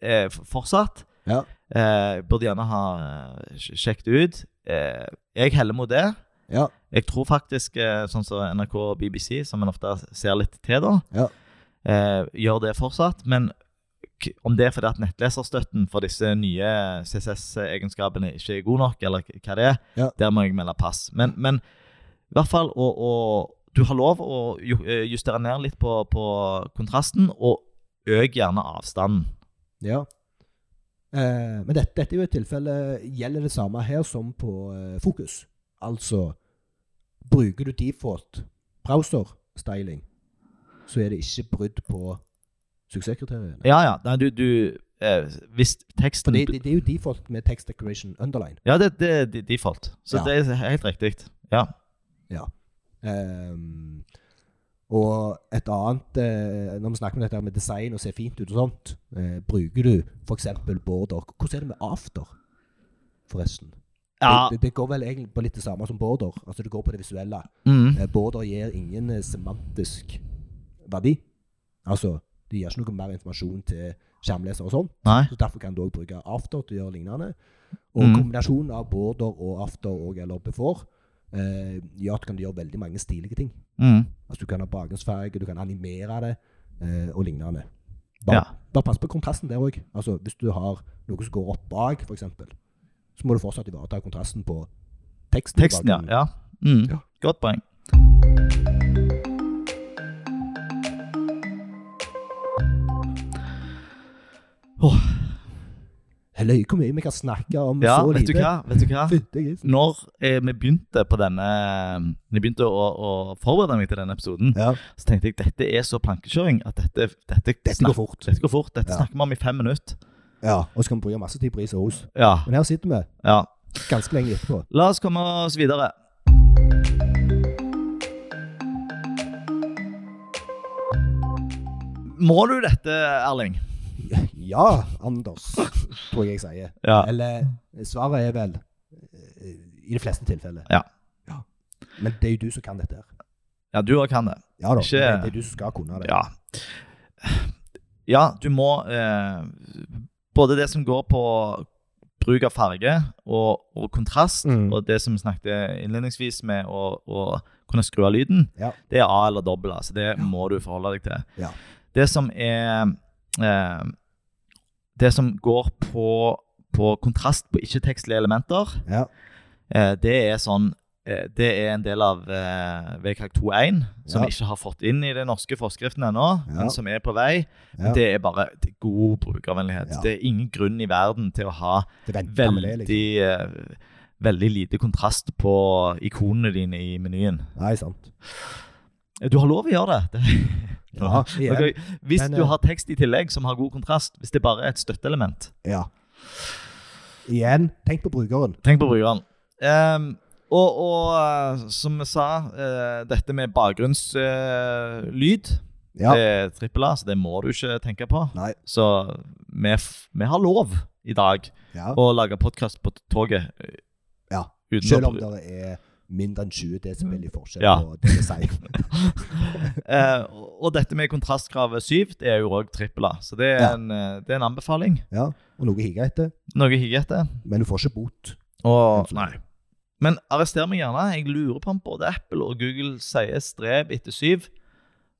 eh, f- fortsatt Ja. eh, Burde gjerne ha eh, sj- sjekket ut. Eh, jeg heller mot det. Ja. Jeg tror faktisk, eh, sånn som NRK og BBC, som en ofte ser litt til, da, Ja. eh, gjør det fortsatt. Men k- om det er fordi at nettleserstøtten for disse nye CSS-egenskapene ikke er god nok, eller k- hva det er, Ja. der må jeg melde pass. Men, men i hvert fall å, å Du har lov å ju- eh, justere ned litt på, på kontrasten, og øk gjerne avstanden. Ja. Eh, men dette, dette er jo et tilfelle Gjelder det samme her som på eh, Fokus? Altså Bruker du default browser-styling, så er det ikke brudd på suksesskriteriene. Ja, ja. Nei, du, du eh, Hvis teksten Det, det, det er jo default med text decoration underline. Ja, det det er de- default. Så Ja. det er helt riktig. Ja. Ehm, og et annet eh, Når vi snakker om dette her med design og ser fint ut og sånt, eh, bruker du f.eks. border. Hvordan er det med after, forresten? Ja. Det, det, det går vel egentlig på litt det samme som border. Altså Det går på det visuelle. Mm. Eh, Border gir ingen eh, semantisk verdi. Altså, det gir ikke noe mer informasjon til skjermleser og sånn. Nei. Så Derfor kan du òg bruke after til å gjøre lignende. Og Mhm. kombinasjonen av border og after og eller before eh, gjør at du kan gjøre veldig mange stilige ting. Mm. Altså Du kan ha bakgrunnsfarge, du kan animere det eh, og lignende. Bare, Ja. bare pass på kontrasten der òg. Altså, hvis du har noe som går opp bak, f.eks., så må du fortsatt ivareta kontrasten på teksten. i Teksten, ja. bakgrunnen. ja. Mm. Ja. Godt poeng. Åh. Løye hvor mye vi kan snakke om Ja, så vet du lite. hva? Vet du hva? Fytte grisen. Når eh, vi begynte på denne Når jeg begynte å, å forberede meg til denne episoden, Ja, så tenkte jeg dette er så plankekjøring at dette, dette, dette går snak- fort. dette går fort. Dette Ja. snakker vi om i fem minutter. Ja, Og så kan vi bruke masse tid på is og os. Ja, Men her sitter vi ja. ganske lenge etterpå. La oss komme oss videre. Må du dette, Erling? Ja, Anders, tror jeg jeg sier. Ja. Eller svaret er vel eh, I de fleste tilfeller. Ja. Men det er jo du som kan dette her. Ja, du òg kan det. Ja da. Ikke- Det er- det er du som skal kunne det. Ja. Ja, du må eh, Både det som går på bruk av farge og, og kontrast, Mm. og det som vi snakket innledningsvis med å, å kunne skru av lyden, Ja. det er A eller dobbel, altså. Det må du forholde deg til. Ja. Det som er eh, Det som går på, på kontrast på ikke-tekstlige elementer, Ja. Eh, det er sånn eh, Det er en del av eh, VKK 2.1 som Ja. vi ikke har fått inn i den norske forskriften ennå, Ja. men som er på vei. Ja. Det er bare det er god brukervennlighet. Ja. Det er ingen grunn i verden til å ha Det venter med veldig det, liksom. eh, Veldig lite kontrast på ikonene dine i menyen. Eh, Nei, sant. Du har lov å gjøre det. det Ja, igjen. Ok, Hvis Men, du eh, har tekst i tillegg som har god kontrast, hvis det bare er et støtteelement, ja. Igjen, tenk på brukeren. Tenk på brukeren. Ehm, og, og eh, som vi sa, eh, dette med bakgrunnslyd Ja. Det er trippel A, så det må du ikke tenke på. Nei. Så vi, f vi har lov i dag Ja. å lage podkast på toget. eh, Ja. uten Selv å- om det er mindre enn 20 desibel i forskjell Ja. på det jeg sier. Eh, og- og dette med kontrastkravet 7 det er jo òg trippel A, så det er, Ja. en, eh, det er en anbefaling. Ja. Og noe å hige etter. Noe å higge etter. Men du får ikke bot. Og, nei. Men arrester meg gjerne. Jeg lurer på om både Apple og Google sier strev etter syv.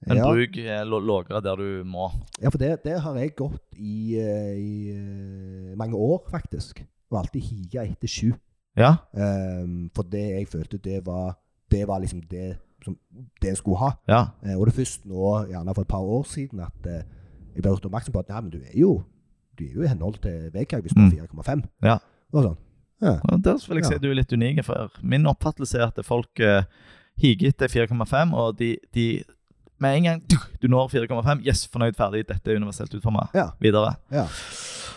Men Ja. bruk eh, lå- lågere der du må. Ja, for det, det har jeg gått i, eh, i eh, mange år, faktisk. Og alltid higa etter sju. Ja. Ehm, for det jeg følte, det var, det var liksom det som det jeg skulle ha. ja. Eh, og det er først nå, gjerne for et par år siden, at eh, jeg ble gjort oppmerksom på at nei, men du er jo du er jo i henhold til VKG hvis du Mm. er 4,5. Ja. Og sånn. Ja, Og der vil jeg Ja. si du er litt unik, for min oppfattelse er at folk eh, higer etter 4,5, og de, de med en gang tuk, du når 4,5, yes, fornøyd, ferdig, dette er universelt utforma. ja, Videre. ja.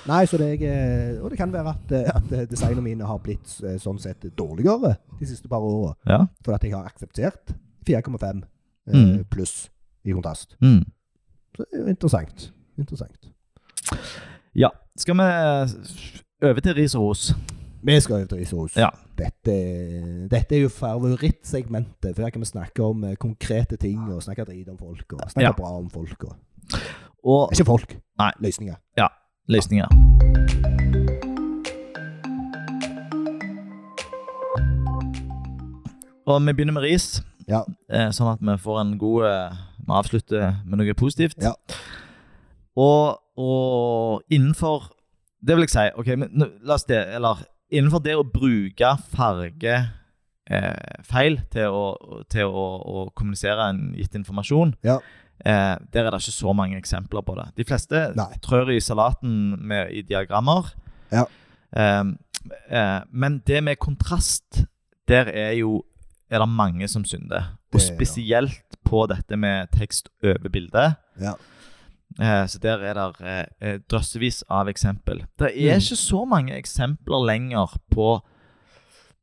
Nei, så det jeg, eh, og det kan være at, eh, at eh, designene mine har blitt eh, sånn sett dårligere de siste par åra. Ja. For at jeg har akseptert 4,5 eh, Mm. pluss i kontrast. Mm. Så det er jo interessant. Interessant. ja. Skal vi eh, over til ris og ros? Vi skal over til ris og ros. Ja. Dette, dette er jo favorittsegmentet, for her kan vi snakke om eh, konkrete ting, og snakke drit om folk, og snakke Ja. bra om folk. Og. Og Ikke folk, Nei. løsninger. løsninger. Og vi begynner med ris, Ja. eh, sånn at vi får en god eh, Vi avslutter med noe positivt. Ja. Og, og innenfor Det vil jeg si. ok, men nå- la oss det, eller Innenfor det å bruke farge eh, feil til å, til å, å kommunisere en gitt informasjon, Ja. Eh, der er det ikke så mange eksempler på det. De fleste Nei. trør i salaten med, i diagrammer. Ja. Eh, eh, men det med kontrast, der er jo er det mange som synder. Og Det er det. spesielt på dette med tekst over bilde. Ja. Eh, så der er det eh, eh, drøssevis av eksempel. Det er Mm. ikke så mange eksempler lenger på,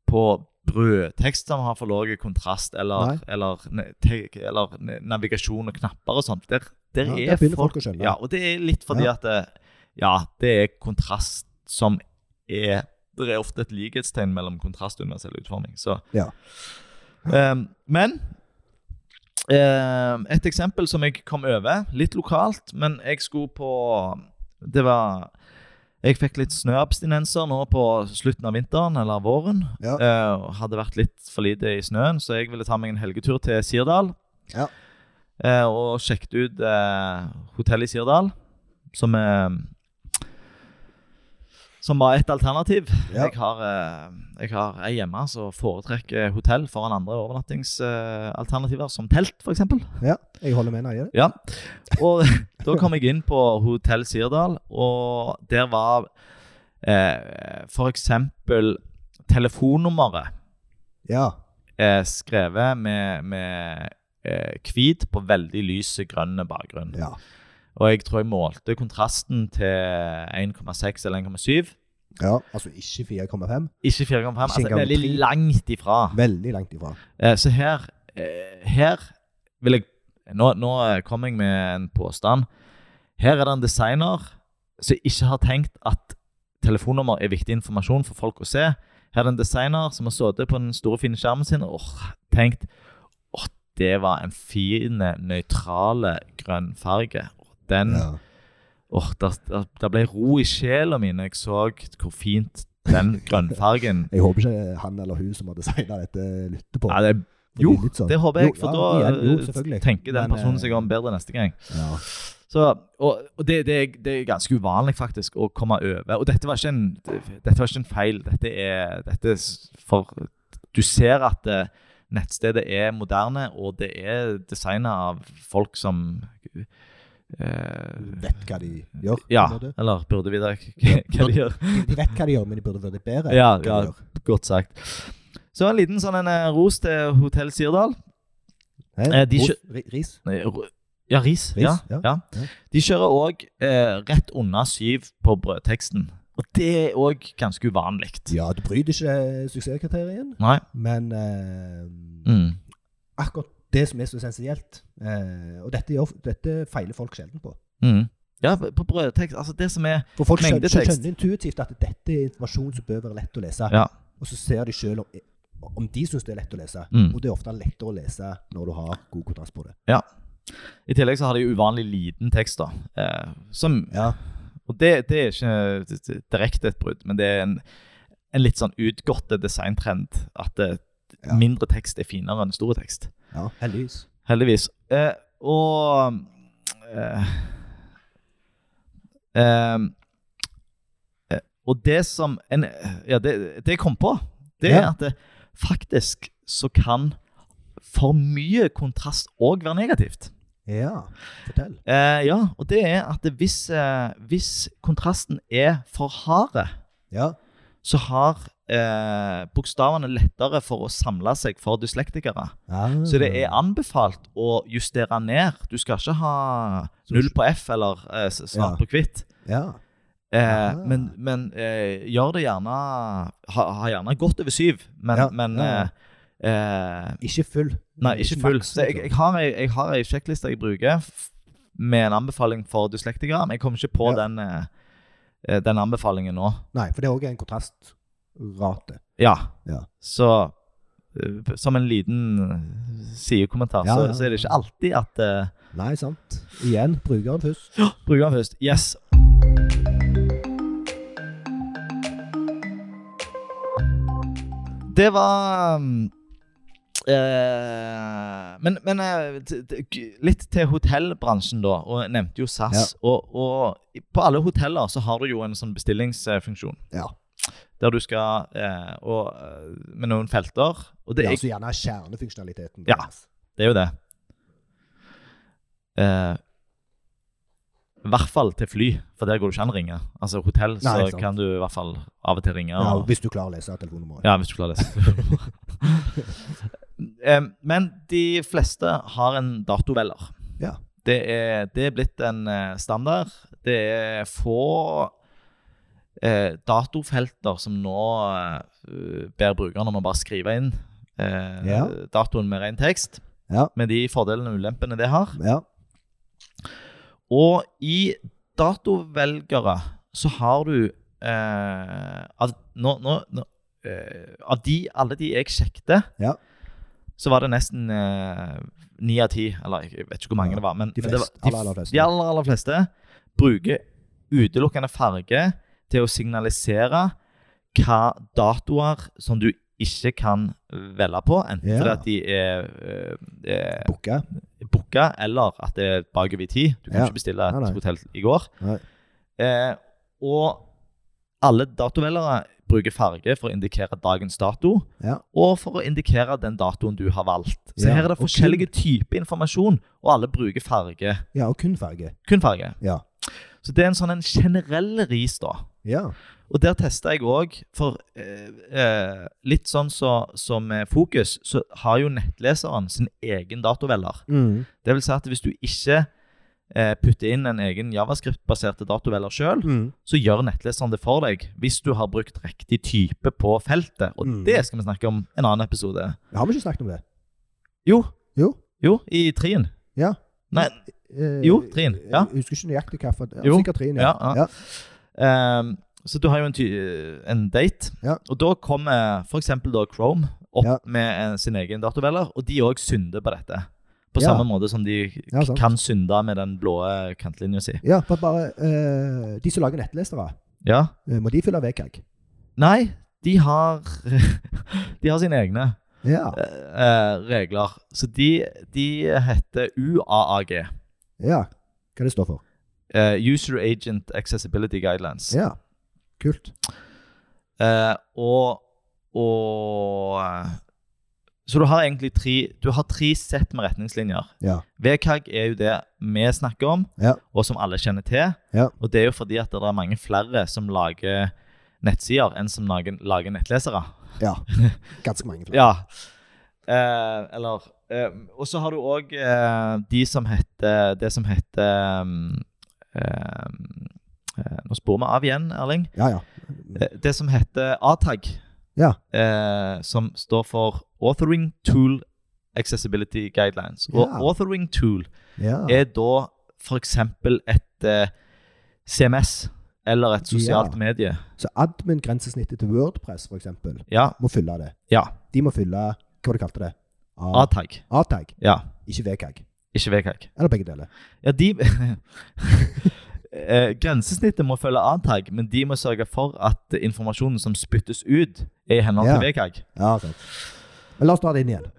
på brødtekst som har for lav kontrast, eller, Nei. eller, ne- te- eller ne- navigasjon og knapper og sånt. Der, der Ja, er der begynner folk å skjønne. Ja, og det er litt fordi Ja. at det, ja, det er kontrast som er Det er ofte et likhetstegn mellom kontrast og universell utforming. Så. Ja. Ehm, men ehm, et eksempel som jeg kom over, litt lokalt, men jeg skulle på Det var Jeg fikk litt snøabstinenser nå på slutten av vinteren eller våren. Ja. Eh, og hadde vært litt for lite i snøen, så jeg ville ta meg en helgetur til Sirdal. Ja. Eh, og sjekket ut eh, hotellet i Sirdal, som eh, Som var et alternativ. Ja. Jeg har, eh, jeg har ei hjemme som foretrekker hotell foran andre overnattingsalternativer, som telt, f.eks. ja, jeg holder med Naje. Ja. Og Da kom jeg inn på Hotell Sirdal, og der var eh, for eksempel telefonnummeret Ja. eh, skrevet med, med eh, hvit på veldig lys grønn bakgrunn. ja. Og jeg tror jeg målte kontrasten til 1,6 eller 1,7. ja. Altså ikke 4,5. Ikke 4,5, altså engang veldig tre. langt ifra. Veldig langt ifra. Eh, Så her, eh, her vil jeg nå, nå eh, kommer jeg med en påstand. Her er det en designer som ikke har tenkt at telefonnummer er viktig informasjon for folk å se. Her er det en designer som har sittet på den store, fine skjermen sin og tenkt åh, det var en fin, nøytral grønn farge. Åh, Den, Ja. åh, der, der, der ble ro i sjela mi når jeg så hvor fint den grønnfargen Jeg håper ikke han eller hun som har designa dette, lytter på. ja, det, For Jo, er litt sånn- det håper jeg, Jo, for ja, da igjen, jo, eh, selvfølgelig. tenker den Men, personen eh, seg om bedre neste gang. Ja. Så, og og det, det, er- det er ganske uvanlig faktisk å komme over. Og dette var ikke en, dette var ikke en feil. Dette er, dette er s- for Du ser at eh, nettstedet er moderne, og det er designa av folk som eh, Vet hva de gjør. på en Ja, måte. eller burde vite hva de gjør. De, de vet hva de gjør, men de burde vært bedre. Ja, hva de ja, gjør. godt sagt. Så en liten sånn en eh, ros til Hotell Sirdal. Hæ? Eh, de Ros- kjø- ri- Ris. Nei, ro- Ja, ris. Ris, ja, ja. ja. Ja. De kjører òg eh, rett unna syv på brødteksten. Og det er òg ganske uvanlig. Ja, du bryter ikke suksesskriteriet, Nei. men eh, Mm. akkurat det som er så essensielt eh, Og dette, gjør, dette feiler folk sjelden på. Mm. Ja, på brødtekst Altså, det som er For folk skjønner, Mengdetekst. skjønner intuitivt at dette er informasjon som bør være lett å lese. Ja. Og så ser de sjøl om, eh, om de syns det er lett å lese. Mm. Og det er ofte lettere å lese når du har god kontrakt på det. I tillegg så har de uvanlig liten tekst, da. Eh, som Ja. Og det, det er ikke direkte et brudd, men det er en, en litt sånn utgått designtrend. At eh, Ja. mindre tekst er finere enn stor tekst. ja heldigvis. Heldigvis. Eh, og eh, eh, eh, Og det som en, Ja, det, det jeg kom på, det er Ja. at det, faktisk så kan for mye kontrast òg være negativt. Ja, fortell. Eh, ja, og det er at det, hvis, eh, hvis kontrasten er for harde, Ja. så har eh, bokstavene lettere for å samle seg for dyslektikere. Ah. Så det Mm. er anbefalt å justere ned. Du skal ikke ha null på F eller eh, s- svart Ja. på hvitt. Ja. Eh, Ah. men men eh, gjør det gjerne ha, ha gjerne godt over syv, men, Ja, men ja, Eh, eh, Ikke full. Nei, ikke full. maks, altså. Så liksom. jeg, jeg har ei- jeg har ei sjekkliste jeg bruker f- med en anbefaling for dyslektikere, men jeg kommer ikke på Ja. den, eh, eh, den anbefalingen nå. Nei, for det er òg en kontrastrate. Ja. Ja. Så eh, som en liten eh, sidekommentar, Ja, så, ja, så er det ikke ja. alltid at eh, Nei, sant. Igjen, brukeren først. Bruker den først. Yes. Det var mm, eh, Men, men eh, t- t- g- litt til hotellbransjen, da. Og jeg nevnte jo SAS. Og, og i- på alle hoteller så har du jo en sånn bestillingsfunksjon. Ja. Der du skal eh, og, eh, Med noen felter. Og det, Det er er- altså gjerne kjernefunksjonaliteten. Ja. deres. det er jo det. Eh, I hvert fall til fly, for der går det ikke an å ringe. Altså hotell så Nei, sant. kan du i hvert fall av og til ringe. Ja, og- hvis du klarer å lese telefonnummeret. ja, hvis du klarer det. Em, Men de fleste har en datovelger. Ja. Det er, det er blitt en eh, standard. Det er få eh, datofelter som nå eh, ber brukeren om å bare skrive inn eh, Ja. datoen med ren tekst, Ja. med de fordelene og ulempene det har. Ja. Og i datovelgere så har du eh, at nå, nå, nå, eh, Av de, alle de jeg sjekte, Ja. så var det nesten eh, ni av ti. Eller jeg vet ikke hvor mange Ja, det var. Men, de men det fleste, var, aller, aller fleste. de aller, aller fleste bruker utelukkende farge til å signalisere hva datoer som du ikke kan velge på, enten Ja. fordi at de er, eh, eh, Booka. booka, eller at det er bakover i tid. Du kan Ja. ikke bestille et Nei, nei. hotell i går. Nei. Eh, og alle datovelgere bruker farge for å indikere dagens dato, Ja. og for å indikere den datoen du har valgt. Så Ja, her er det og kun- forskjellige typer informasjon, og alle bruker farge. Ja, og kun farge. Kun farge. Ja. Så det er en sånn en generell ris, da. Ja. Og der testa jeg òg, for eh, eh, litt sånn så, som eh, fokus, så har jo nettleseren sin egen datovelger. Mm. Det vil si at hvis du ikke eh, putter inn en egen javascript-basert datovelger sjøl, Mm. så gjør nettleseren det for deg hvis du har brukt riktig type på feltet. Og Mm. det skal vi snakke om en annen episode. Har vi ikke snakket om det? Jo. Jo. Jo, i trien. Ja. Nei, Eh, Jo, Trin, ja. Jeg husker ikke nøyaktig hva. for- Jo. Sikkert Trin, ja. Ja, ja. ehm, så du har jo en, ty en date, Ja. og da kommer for eksempel da Chrome opp Ja. med eh, sin egen datovelger, og de òg synder på dette. På Ja. samme måte som de Ja, sant. kan synde med den blå eh, kantlinja si. Ja, for at bare eh, De som lager nettlesere, Ja. eh, må de fylle VKG? Nei, de har De har sine egne Ja. eh, regler. Så de, de heter UAAG. ja. Hva det står for? eh, User Agent Accessibility Guidelines. Ja. Kult. Eh, og, og eh, Så du har egentlig tre Du har tre sett med retningslinjer. Ja. VKG er jo det vi snakker om, Ja. og som alle kjenner til. Ja. Og det er jo fordi at det er mange flere som lager nettsider enn som lager, lager nettlesere. ja. Ganske mange flere. Ja. Eh, eller eh, Og så har du òg eh, de som heter Det som heter mm, eh, eh, Nå sporer vi av igjen, Erling. Ja, ja. Eh, Det som heter ATAG, Ja. eh, som står for Authoring Tool Accessibility Guidelines. Og Ja. Authoring Tool ja. er da f.eks. et eh, CMS eller et sosialt Ja. medie. Så admin-grensesnittet til Wordpress, for eksempel, Ja. må fylle det. ja. De må fylle Hva var det du kalte det? A- ATAG. A-tag, Ja. ikke VKG. Ikke VKG. Eller begge deler. Ja, de Eh, Grensesnittet må følge ATAG, men de må sørge for at informasjonen som spyttes ut, er i henhold til VKG. Ja, sant. Men la oss ta det inn igjen.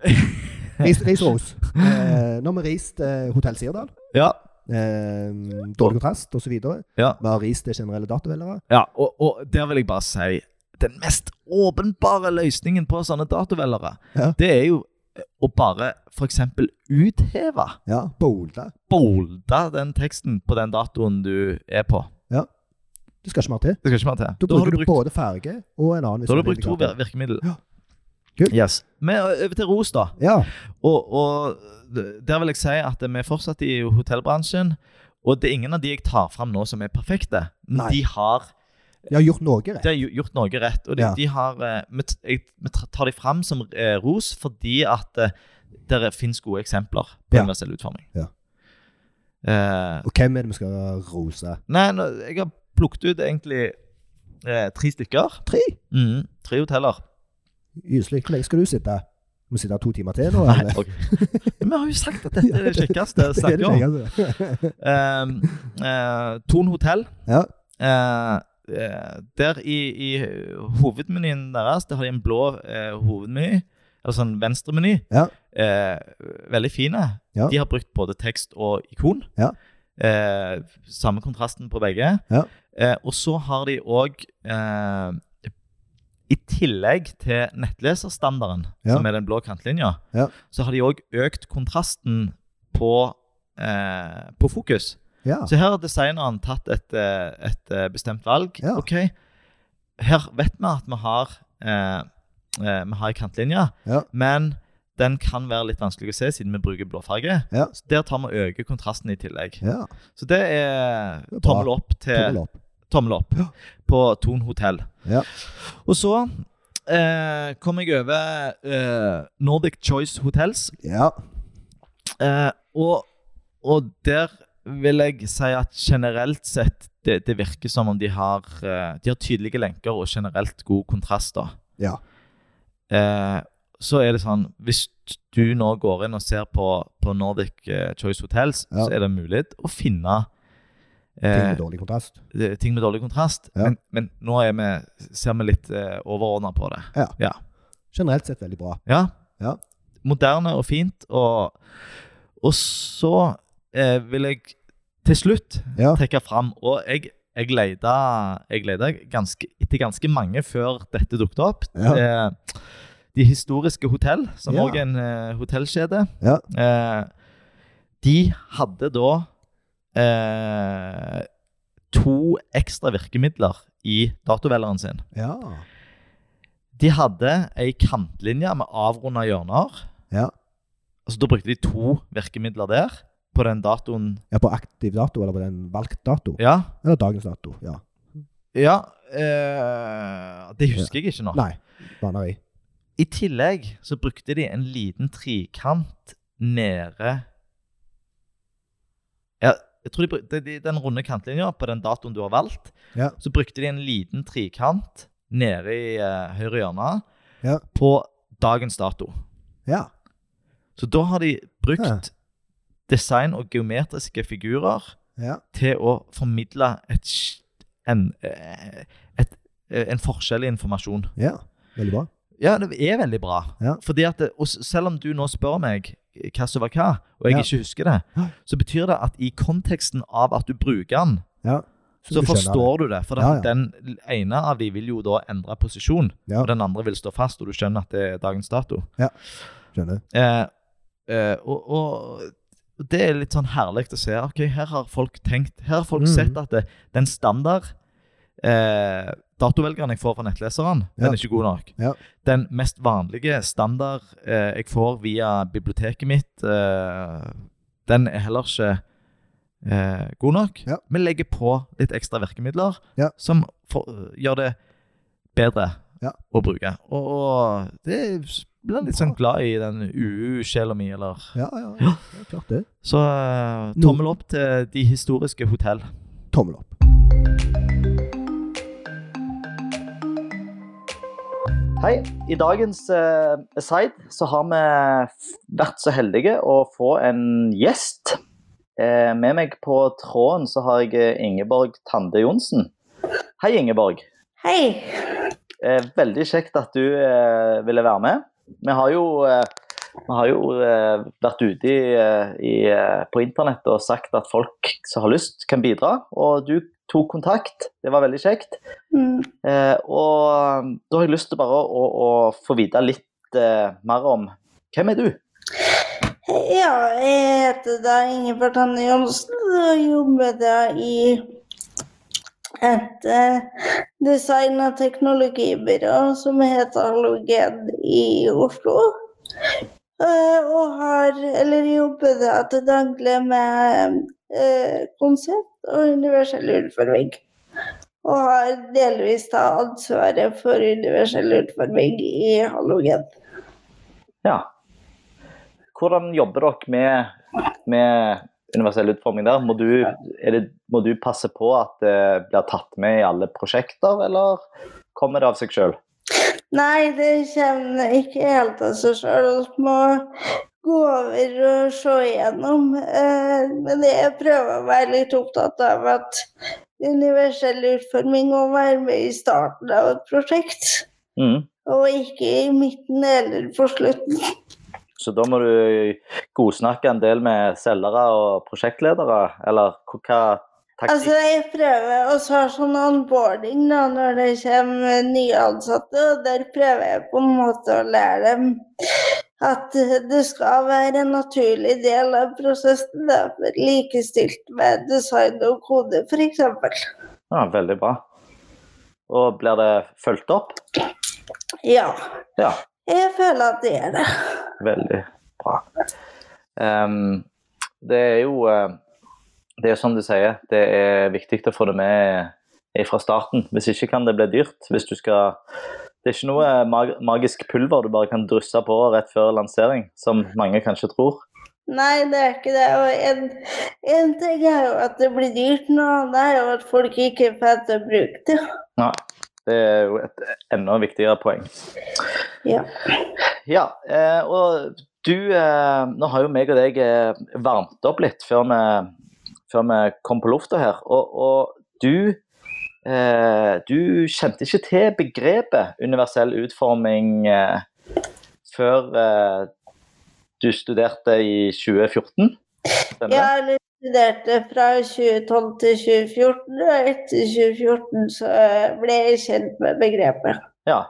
Ris, ris og ros. Eh, nå har vi rist eh, Hotell Sirdal. Ja. Eh, dårlig kontrast osv. Vi ja. har rist det generelle datovelgere. Ja, og, og der vil jeg bare si Den mest åpenbare løsningen på sånne datovelgere, Ja. det er jo eh, å bare f.eks. utheve, Ja, bolde. bolde den teksten på den datoen du er på. Du skal ikke mer til. Det skal ikke mer til. Da har bruker du, brukt, både farge og en annen da har du brukt to visuell vir- virkemidler. Ja. Kult. Yes. Men eh, over til ros, da. indikator. Ja. Og, og der vil jeg si at vi er fortsatt i hotellbransjen. Og det er ingen av de jeg tar fram nå, som er perfekte. Men Nei. de har De har gjort noe rett. De har gjo- gjort noe rett. Og de, Ja. de har, eh, vi t- jeg- vi tra- tar de fram som eh, ros fordi at eh, det finnes gode eksempler på Ja. universell utforming. Ja. Eh, Og hvem er det vi skal rose? nei, nå, jeg har plukket ut egentlig eh, tre stykker. Tre. Mhm, tre hoteller. Gyselig. Hvor lenge skal du sitte? Må du sitte to timer til nå? Nei, eller? ok. Men vi har jo sagt at dette er det kjekkeste å Det er snakke det om. kjekkeste. Eh, eh, Thon hotell. Ja. Eh, eh, der i, i hovedmenyen deres, der har de en blå eh, hovedmeny, eller sånn venstremeny. Ja. Eh, veldig fine. Ja. De har brukt både tekst og ikon. Ja. Eh, samme kontrasten på begge. Ja. Eh, og så har de òg eh, I tillegg til nettleserstandarden, Ja. som er den blå kantlinja, Ja. så har de òg økt kontrasten på, eh, på fokus. Ja. Så her har designeren tatt et, eh, et eh, bestemt valg. Ja. Ok, her vet vi at vi har eh, eh, Vi har en kantlinje, Ja. men den kan være litt vanskelig å se siden vi bruker blåfarge. Ja. Så der tar vi og øker kontrasten i tillegg. ja. Så det er Det er bra. tommel opp til Tommel opp. tommel opp Ja. på Thon hotell. Ja. Og så eh, kom jeg over eh, Nordic Choice Hotels. Ja. Eh, og, og der vil jeg si at generelt sett det, det virker som om de har, eh, de har tydelige lenker og generelt god kontrast. da. Ja. Eh, så er det sånn Hvis du nå går inn og ser på, på Nordic eh, Choice Hotels, Ja. så er det mulig å finne Ting eh, med dårlig kontrast. det- ting med dårlig kontrast. Ja. Men, men nå er vi, ser vi litt eh, overordna på det. Generelt sett veldig bra. Ja. Ja. Moderne og fint. Og, og så eh, vil jeg til slutt Ja. trekke fram Og jeg jeg leta, jeg leta ganske, etter ganske mange før dette dukket opp. Ja. Eh, de historiske hotell, som Ja. òg er en eh, hotellkjede, Ja. eh, de hadde da eh, to ekstra virkemidler i datovelgeren sin. Ja. De hadde ei kantlinje med avrunda hjørner. Ja. Altså, da brukte de to virkemidler der på den datoen. ja, på aktiv dato, eller på den valgt dato. Ja, Eller dagens dato. Ja. ja eh, det husker jeg ikke nå. Nei, baner jeg. I tillegg så brukte de en liten trikant nede ja, jeg tror de, bruk- de, de, Den runde kantlinja på den datoen du har valgt, Ja. så brukte de en liten trikant nede i eh, høyre hjørne Ja. på dagens dato. Ja. Så da har de brukt Ja. design og geometriske figurer Ja. til å formidle et, sk- en, eh, et, eh, en forskjell i informasjon. ja. Veldig bra. Ja, det er veldig bra. Ja. Fordi at, det- og s- Selv om du nå spør meg eh, hva som var hva, og jeg Ja. ikke husker det, Ja. så betyr det at i konteksten av at du bruker den, Ja. så du skjønner forstår du det. For Ja, den- den ene av de vil jo da endre posisjon, Ja. og den andre vil stå fast, og du skjønner at det er dagens dato. det. Skjønner. Eh, eh, og, og og det er litt sånn herlig å se. Ok, her har folk tenkt, her har folk Mhm. sett at det, den standard eh, datovelgeren jeg får fra nettleseren, Ja. den er ikke god nok. Ja. Den mest vanlige standard eh, jeg får via biblioteket mitt, eh, den er heller ikke eh, god nok. Ja. Vi legger på litt ekstra virkemidler Ja. som for, gjør det bedre Ja. å bruke. Og, og det blir litt sånn glad i den UU-sjela mi, eller Ja, ja, ja. ja klart det. Så eh, Nå- tommel opp til de historiske hotell. Tommel opp. Hei. I dagens eh, side så har vi f- vært så heldige å få en gjest. Eh, med meg på tråden så har jeg eh, Ingeborg Tande Johnsen. Hei, Ingeborg. Hei. Eh, veldig kjekt at du eh, ville være med. Vi har jo, eh, vi har jo eh, vært ute i, eh, i, eh, på internett og sagt at folk som har lyst, kan bidra. Og du tok kontakt. Det var veldig kjekt. Mm. Eh, og da har jeg lyst til bare å, å få vite litt eh, mer om hvem er du? Ja, jeg heter da Ingeborg Tanne Johnsen, og jobber da i et eh, design- og teknologibyrå som heter Halogen i Oslo. Eh, og har, eller jobber da til daglig med eh, konsept og universell utforming. Og har delvis da ansvaret for universell utforming i Halogen. Ja. Hvordan jobber dere med, med universell utforming der? Må du, er det, må du passe på at det blir tatt med i alle prosjekter, eller kommer det av seg sjøl? Nei, det kommer ikke helt av seg sjøl. Vi må gå over og se igjennom. Eh, Men jeg prøver å være litt opptatt av at universell utforming må være med i starten av et prosjekt, Mm. og ikke i midten eller på slutten. Så da må du godsnakke en del med selgere og prosjektledere, eller hva taktikk Altså, jeg prøver å ha sånn onboarding da, når det kommer nye ansatte, og der prøver jeg på en måte å lære dem at det skal være en naturlig del av prosessen, da, men likestilt med design og kode, f.eks. Ja, veldig bra. Og blir det fulgt opp? Ja. Ja. Jeg føler at det er det. Veldig bra. Ehm, det er jo eh, Det er som du sier, det er viktig å få det med fra starten. Hvis ikke kan det bli dyrt. Hvis du skal Det er ikke noe mag magisk pulver du bare kan drysse på rett før lansering, som mange kanskje tror. Nei, det er ikke det. Og en, en ting er jo at det blir dyrt, noe annet er jo at folk ikke får til å bruke det. Nei. Det er jo et enda viktigere poeng. Ja. Ja, eh, og du eh, Nå har jo meg og deg eh, varmt opp litt før vi, før vi kom på lufta her. Og, og du eh, Du kjente ikke til begrepet universell utforming eh, før eh, du studerte i 2014? Stemmer det? Ja, eller studerte fra 2012 til 2014, og etter 2014 så eh, ble jeg kjent med begrepet. Ja,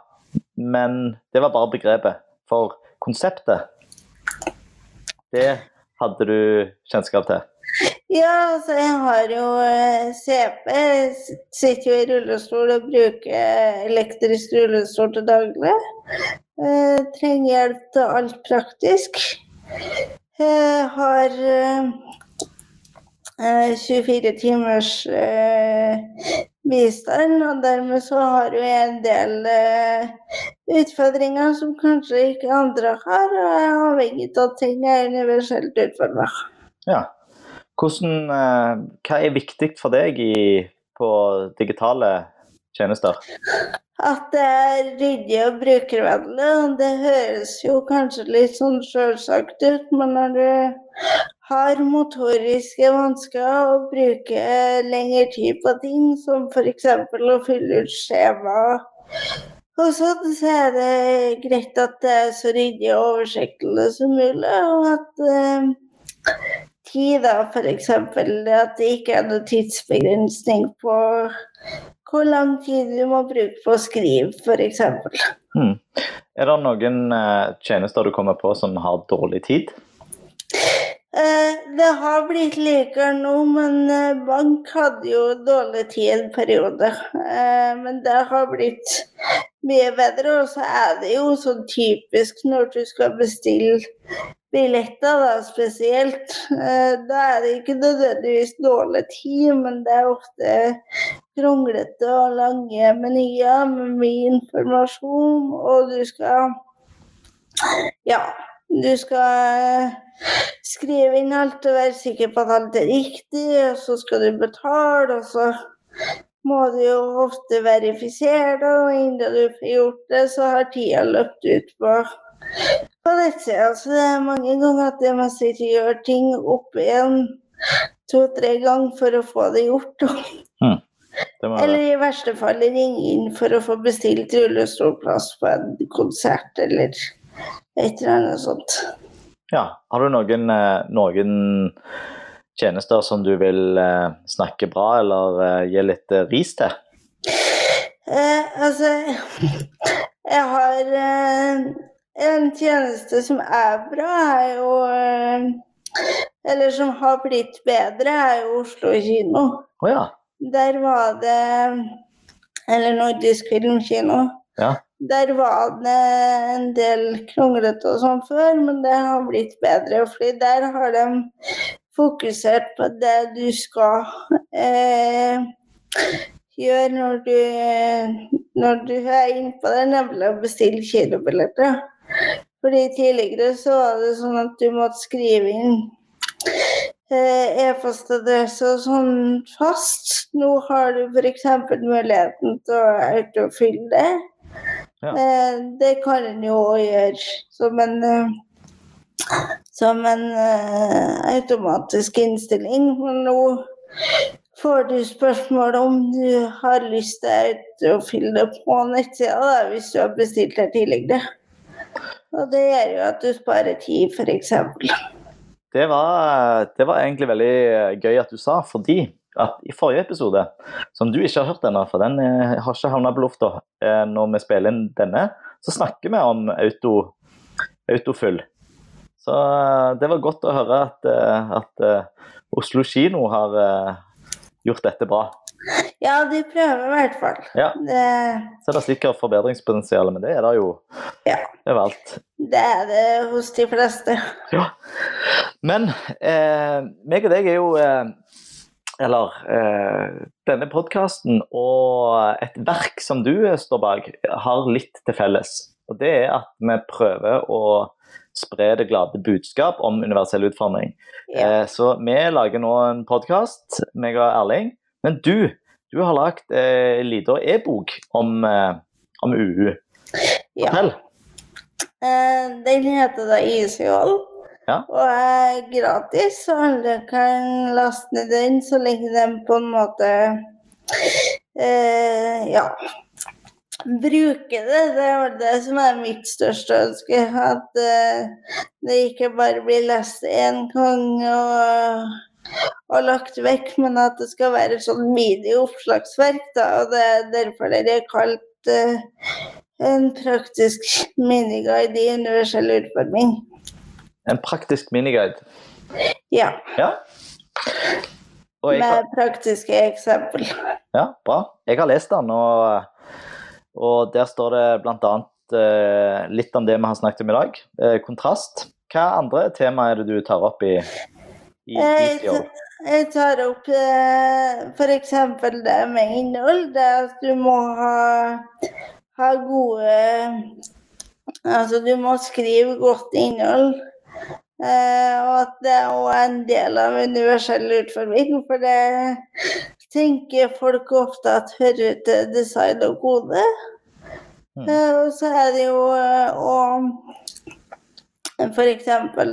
men det var bare begrepet. For konseptet, det hadde du kjennskap til? Ja, altså jeg har jo eh, CP, jeg sitter jo i rullestol og bruker elektrisk rullestol til daglig. Eh, trenger hjelp til alt praktisk. Jeg har eh, eh, 24 timers eh, bistand, og dermed så har jo jeg en del eh, utfordringer som kanskje ikke andre har, og jeg er avhengig av at ting er universelt utforma. Ja. Hvordan, eh, hva er viktig for deg i, på digitale tjenester? At det er ryddig og brukervennlig. og Det høres jo kanskje litt sånn selvsagt ut, men når du har motoriske vansker og bruker lengre tid på ting, som f.eks. å fylle ut skjema og sånn, så er det greit at det er så ryddig og oversiktlig som mulig, og at eh, tid, da, f.eks. At det ikke er noen tidsbegrensning på hvor lang tid du må bruke på å skrive, f.eks. Er det noen eh, tjenester du kommer på som har dårlig tid? Eh, det har blitt likere nå, men eh, bank hadde jo dårlig tid en periode. Eh, men det har blitt mye bedre, og så er det jo sånn typisk når du skal bestille billetter, da spesielt. Eh, da er det ikke nødvendigvis dårlig tid, men det er ofte kronglete og lange menyer med mye informasjon, og du skal Ja, du skal eh, skrive inn alt og være sikker på at alt er riktig, og så skal du betale, og så må du jo ofte verifisere, det, og innen du får gjort det, så har tida løpt ut på på nettsida. Så det er mange ganger at jeg må sitte og gjøre ting opp igjen to-tre ganger for å få det gjort. Det må Eller i verste fall ringe inn for å få bestilt rullestolplass på en konsert eller et eller annet sånt. Ja. Har du noen, eh, noen tjenester som du vil eh, snakke bra eller eh, gi litt eh, ris til? Eh, altså, jeg har eh, en tjeneste som er bra, er jo eh, Eller som har blitt bedre, er jo Oslo kino. Å ja. Der var det Eller Nordisk Filmkino. Ja. Der var det en del kronglete og sånn før, men det har blitt bedre. fordi der har de fokusert på det du skal eh, gjøre når du, når du er innpå det, nemlig å bestille kinobilletter. Fordi tidligere så var det sånn at du måtte skrive inn eh, e-postadresse og sånn fast. Nå har du f.eks. muligheten til å autofylle det. Ja. Eh, det kan en jo også gjøre som en eh, som en eh, automatisk innstilling. Men nå får du spørsmål om du har lyst til å autofylle det på nettsida da, hvis du har bestilt det tidligere. Og det gjør jo at du sparer tid, f.eks. Det var, det var egentlig veldig eh, gøy at du sa, fordi at i forrige episode, som du ikke har hørt ennå, for den eh, har ikke havna på lufta eh, når vi spiller inn denne, så snakker vi om auto, autofull. Så eh, det var godt å høre at, eh, at eh, Oslo kino har eh, gjort dette bra. Ja, de prøver i hvert fall. Ja. Det, Så er det sikkert forbedringspotensial, men det er det jo Ja. overalt. det er det hos de fleste. Men eh, meg og deg er jo eh, Eller eh, denne podkasten og et verk som du eh, står bak, har litt til felles. Og det er at vi prøver å spre det glade budskap om universell utforming. Ja. Eh, så vi lager nå en podkast, meg og Erling. Men du, du har lagd eh, en liten e-bok om, eh, om UU. Ja. Fortell. Eh, Den heter da Isjål. Ja. Og er gratis, og alle kan laste ned den så lenge de på en måte eh, Ja. Bruke det. Det er vel det som er mitt største ønske. At eh, det ikke bare blir lest én gang, og og lagt vekk, men at det skal være sånn mini-oppslagsverk. da, og Det er derfor det er kalt eh, en praktisk miniguide i universell utforming. En praktisk miniguide. Ja, Og jeg, har- med praktiske eksempel. ja, bra. Jeg har lest den, og, og der står det blant annet eh, litt om det vi har snakket om i dag. Eh, kontrast. Hva andre tema er det du tar opp i, i Jeg, DCO? jeg tar opp eh, f.eks. det med innhold. Det at du må ha, ha gode Altså, du må skrive godt innhold. Eh, og at det er også en del av universell utforming. For det tenker folk ofte at hører til design og kode. Mm. Eh, og så er det jo eh, å f.eks.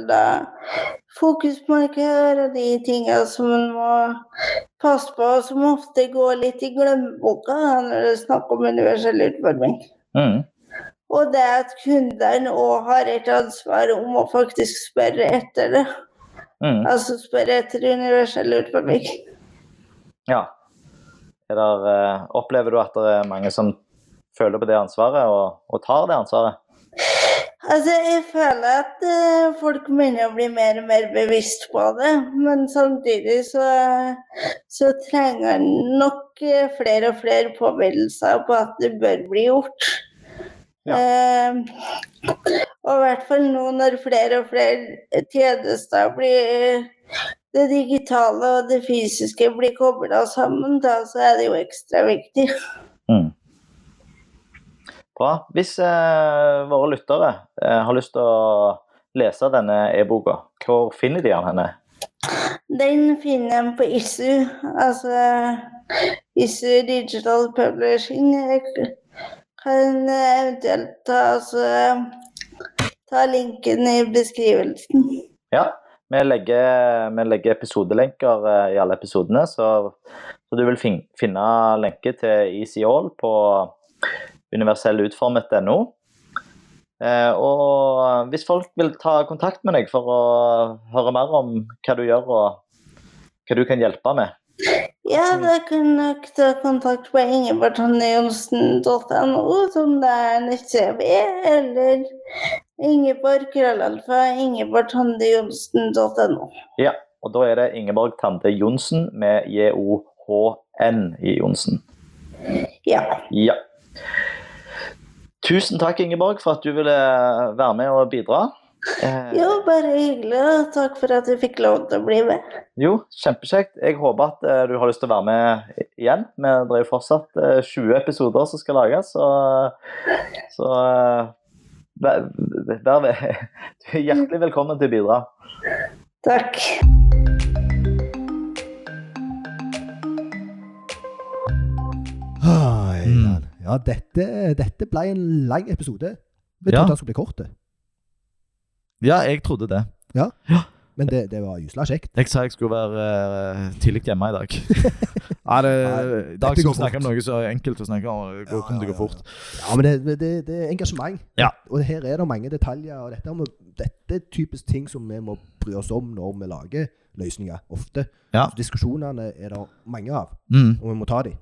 da fokusmarkør og de tinga som en må passe på, og som ofte går litt i glemmeboka da, når det er snakk om universell utforming. Mm. Og det at kundene òg har et ansvar om å faktisk spørre etter det. Mm. Altså spørre etter universell utforming. Ja. Er der, eh, opplever du at det er mange som føler på det ansvaret, og, og tar det ansvaret? Altså, jeg føler at eh, folk begynner å bli mer og mer bevisst på det, men samtidig så, så trenger en nok eh, flere og flere påminnelser på at det bør bli gjort. Ja. Eh, og i hvert fall nå når flere og flere tjenester blir det digitale og det fysiske blir kobla sammen, da så er det jo ekstra viktig. Mm. Bra. Hvis eh, våre lyttere eh, har lyst til å lese denne e-boka, hvor finner de den henne? Den finner jeg på ISU, altså ISU Digital Publishing. Jeg kan eventuelt ta, altså, ta linken i beskrivelsen. Ja, vi legger, vi legger episodelenker eh, i alle episodene, så, så du vil fin finne lenke til Easy All på universellutformet.no. Eh, og hvis folk vil ta kontakt med deg for å høre mer om hva du gjør og hva du kan hjelpe med Ja, da kan dere ta kontakt på ingeborgtonnejonsen.no, som det er nettsida mi, eller Ingeborg krøllalfa ingeborgtonnejonsen.no. Og da er det Ingeborg Tande Johnsen med J-O-H-N i Johnsen. Ja. Ja. Tusen takk, Ingeborg, for at du ville være med og bidra. Eh, Jo, bare hyggelig, og takk for at jeg fikk lov til å bli med. Jo, kjempekjekt. Jeg håper at eh, du har lyst til å være med i- igjen. Vi driver fortsatt eh, 20 episoder som skal lages, så, så eh, vær, vær, du er hjertelig velkommen til å bidra. Takk. Ai, Mm. Ja, dette, dette ble en lang episode. Vi Ja. trodde den skulle bli kort, det. Ja, jeg trodde det. men det, det var gysla kjekt. Jeg sa jeg skulle være eh, tidlig hjemme i dag. Nei, det, Nei, I dag dette skal går vi snakke om fort. noe så enkelt å snakke om. Det Ja, går- kommer til å ja, gå fort. Ja, men det, det, det er engasjement. Ja. Og her er det mange detaljer. Og dette, er- dette er typisk ting som vi må bry oss om når vi lager løsninger, ofte. Ja. Så Diskusjonene er det mange av, Mm. og vi må ta dem.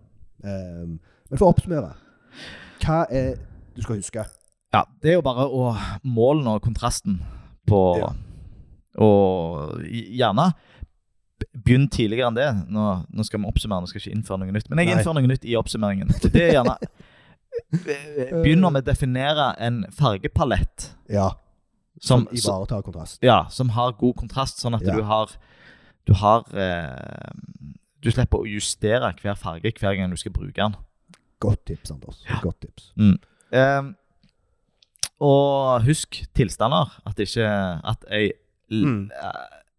men for å oppsummere Hva er du skal huske? Ja, det er jo bare å måle nå kontrasten på Ja. Og gjerne begynn tidligere enn det. Nå, nå skal vi oppsummere, nå skal jeg ikke innføre noe nytt. Men jeg Nei. innfører noe nytt i oppsummeringen. Det er gjerne Begynner med å definere en fargepalett Ja, som, som ivaretar kontrast. ja, som har god kontrast, sånn at Ja. du har Du har eh, Du slipper å justere hver farge hver gang du skal bruke den. Godt tips, Anders. Godt tips. Ehm, og husk tilstander. At, ikke, at ei, Mm. eh,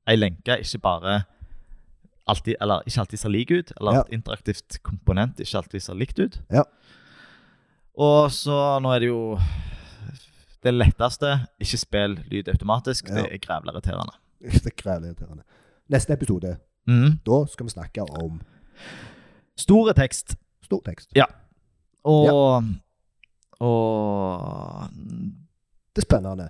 ei lenke ikke bare alltid, eller, ikke alltid ser lik ut, eller Ja. et interaktivt komponent ikke alltid ser likt ut. Ja. Og så nå er det jo det letteste. Ikke spill lyd automatisk. Ja. Det er grevleriterrende. Det krever irriterende. Neste episode, Mhm. da skal vi snakke om Store tekst. stor tekst. Og, og Det er spennende.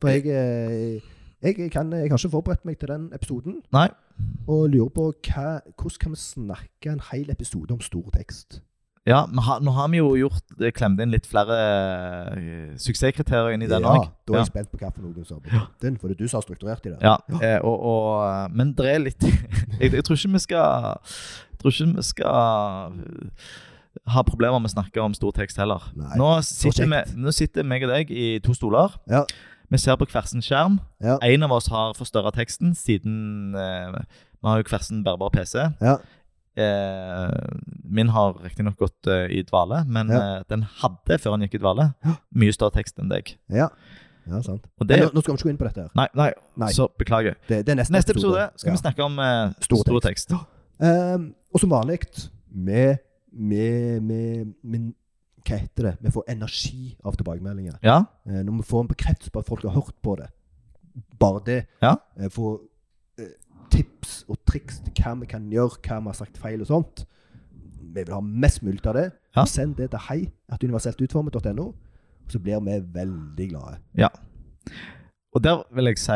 For jeg, eh, Jeg, jeg, kan, jeg har ikke forberedt meg til den episoden. Nei. Og lurer på hva, hvordan kan vi snakke en hel episode om stor tekst? Ja, men ha, nå har vi jo gjort eh, klemt inn litt flere eh, suksesskriterier inn i den ja, òg. Da er jeg spent på hva for noen som har den, for det er du som har strukturert i det. Ja, eh, og, og, men det er litt jeg, jeg tror ikke vi skal jeg tror ikke vi skal eh, ha problemer med å snakke om stor tekst heller. Nei, nå, sitter vi, kjekt. nå sitter meg og deg i to stoler. Ja. Vi ser på hver sin skjerm. Ja. En av oss har forstørra teksten siden eh, vi har jo hver sin bærbar PC. Ja. Eh, min har riktignok gått eh, i dvale, men Ja. eh, den hadde, før den gikk i dvale, mye større tekst enn deg. Ja, ja sant. Og det, Men nå, nå skal vi ikke gå inn på dette. her. nei, nei, Nei. så beklager. Det, det er neste, Neste episode skal Ja. vi snakke om eh, Stor stor, tekst. Ehm, og som vanlig med, med, med, med Hva heter det? Vi får energi av tilbakemeldinger. Ja, Eh, når vi får en bekreftelse på at folk har hørt på det. Bare det. Ja. Eh, få eh, tips og triks til hva vi kan gjøre, hva vi har sagt feil og sånt. Vi vil ha mest mulig av det. Ja. Send det til hei at universeltutformet.no, og så blir vi veldig glade. og der vil jeg si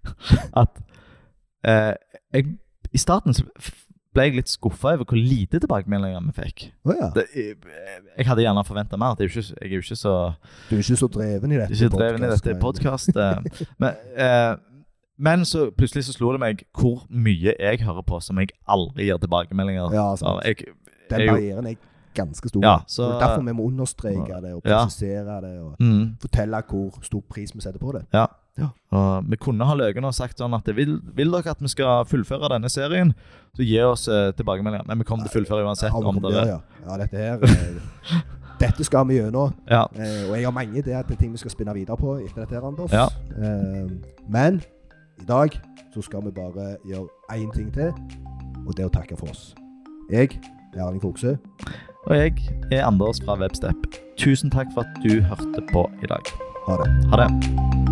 at eh, jeg, I starten så f- ble jeg litt skuffa over hvor lite tilbakemeldinger vi fikk. Å ja. Det, jeg, jeg hadde gjerne forventa mer. Det er jo ikke, jeg er jo ikke så Du er ikke så dreven i dette. ikke dreven i podcast, dette men- podkastet. Men, eh, men så plutselig så slo det meg hvor mye jeg hører på som jeg aldri gir tilbakemeldinger. Ja, av. sant. Jeg, Den jeg, jo- barrieren er ganske stor. ja, Det så, er derfor vi må understreke det og Ja. presisere det og mm, fortelle hvor stor pris vi setter på det. Ja. Ja. Og vi kunne ha løyet og sagt sånn at vil, vil dere at vi skal fullføre denne serien, så gi oss eh, tilbakemeldinger. Men vi kommer til å fullføre uansett. Ja, vi om kommer dere... der, ja. ja, dette her eh, Dette skal vi gjennom. Ja. Eh, og jeg har mange ideer til ting vi skal spinne videre på etter dette her, Anders. Ja. Eh, men i dag så skal vi bare gjøre én ting til, og det er å takke for oss. Jeg er Erling Fokse. Og jeg er Anders fra Webstep. Tusen takk for at du hørte på i dag. Ha det. Ha det.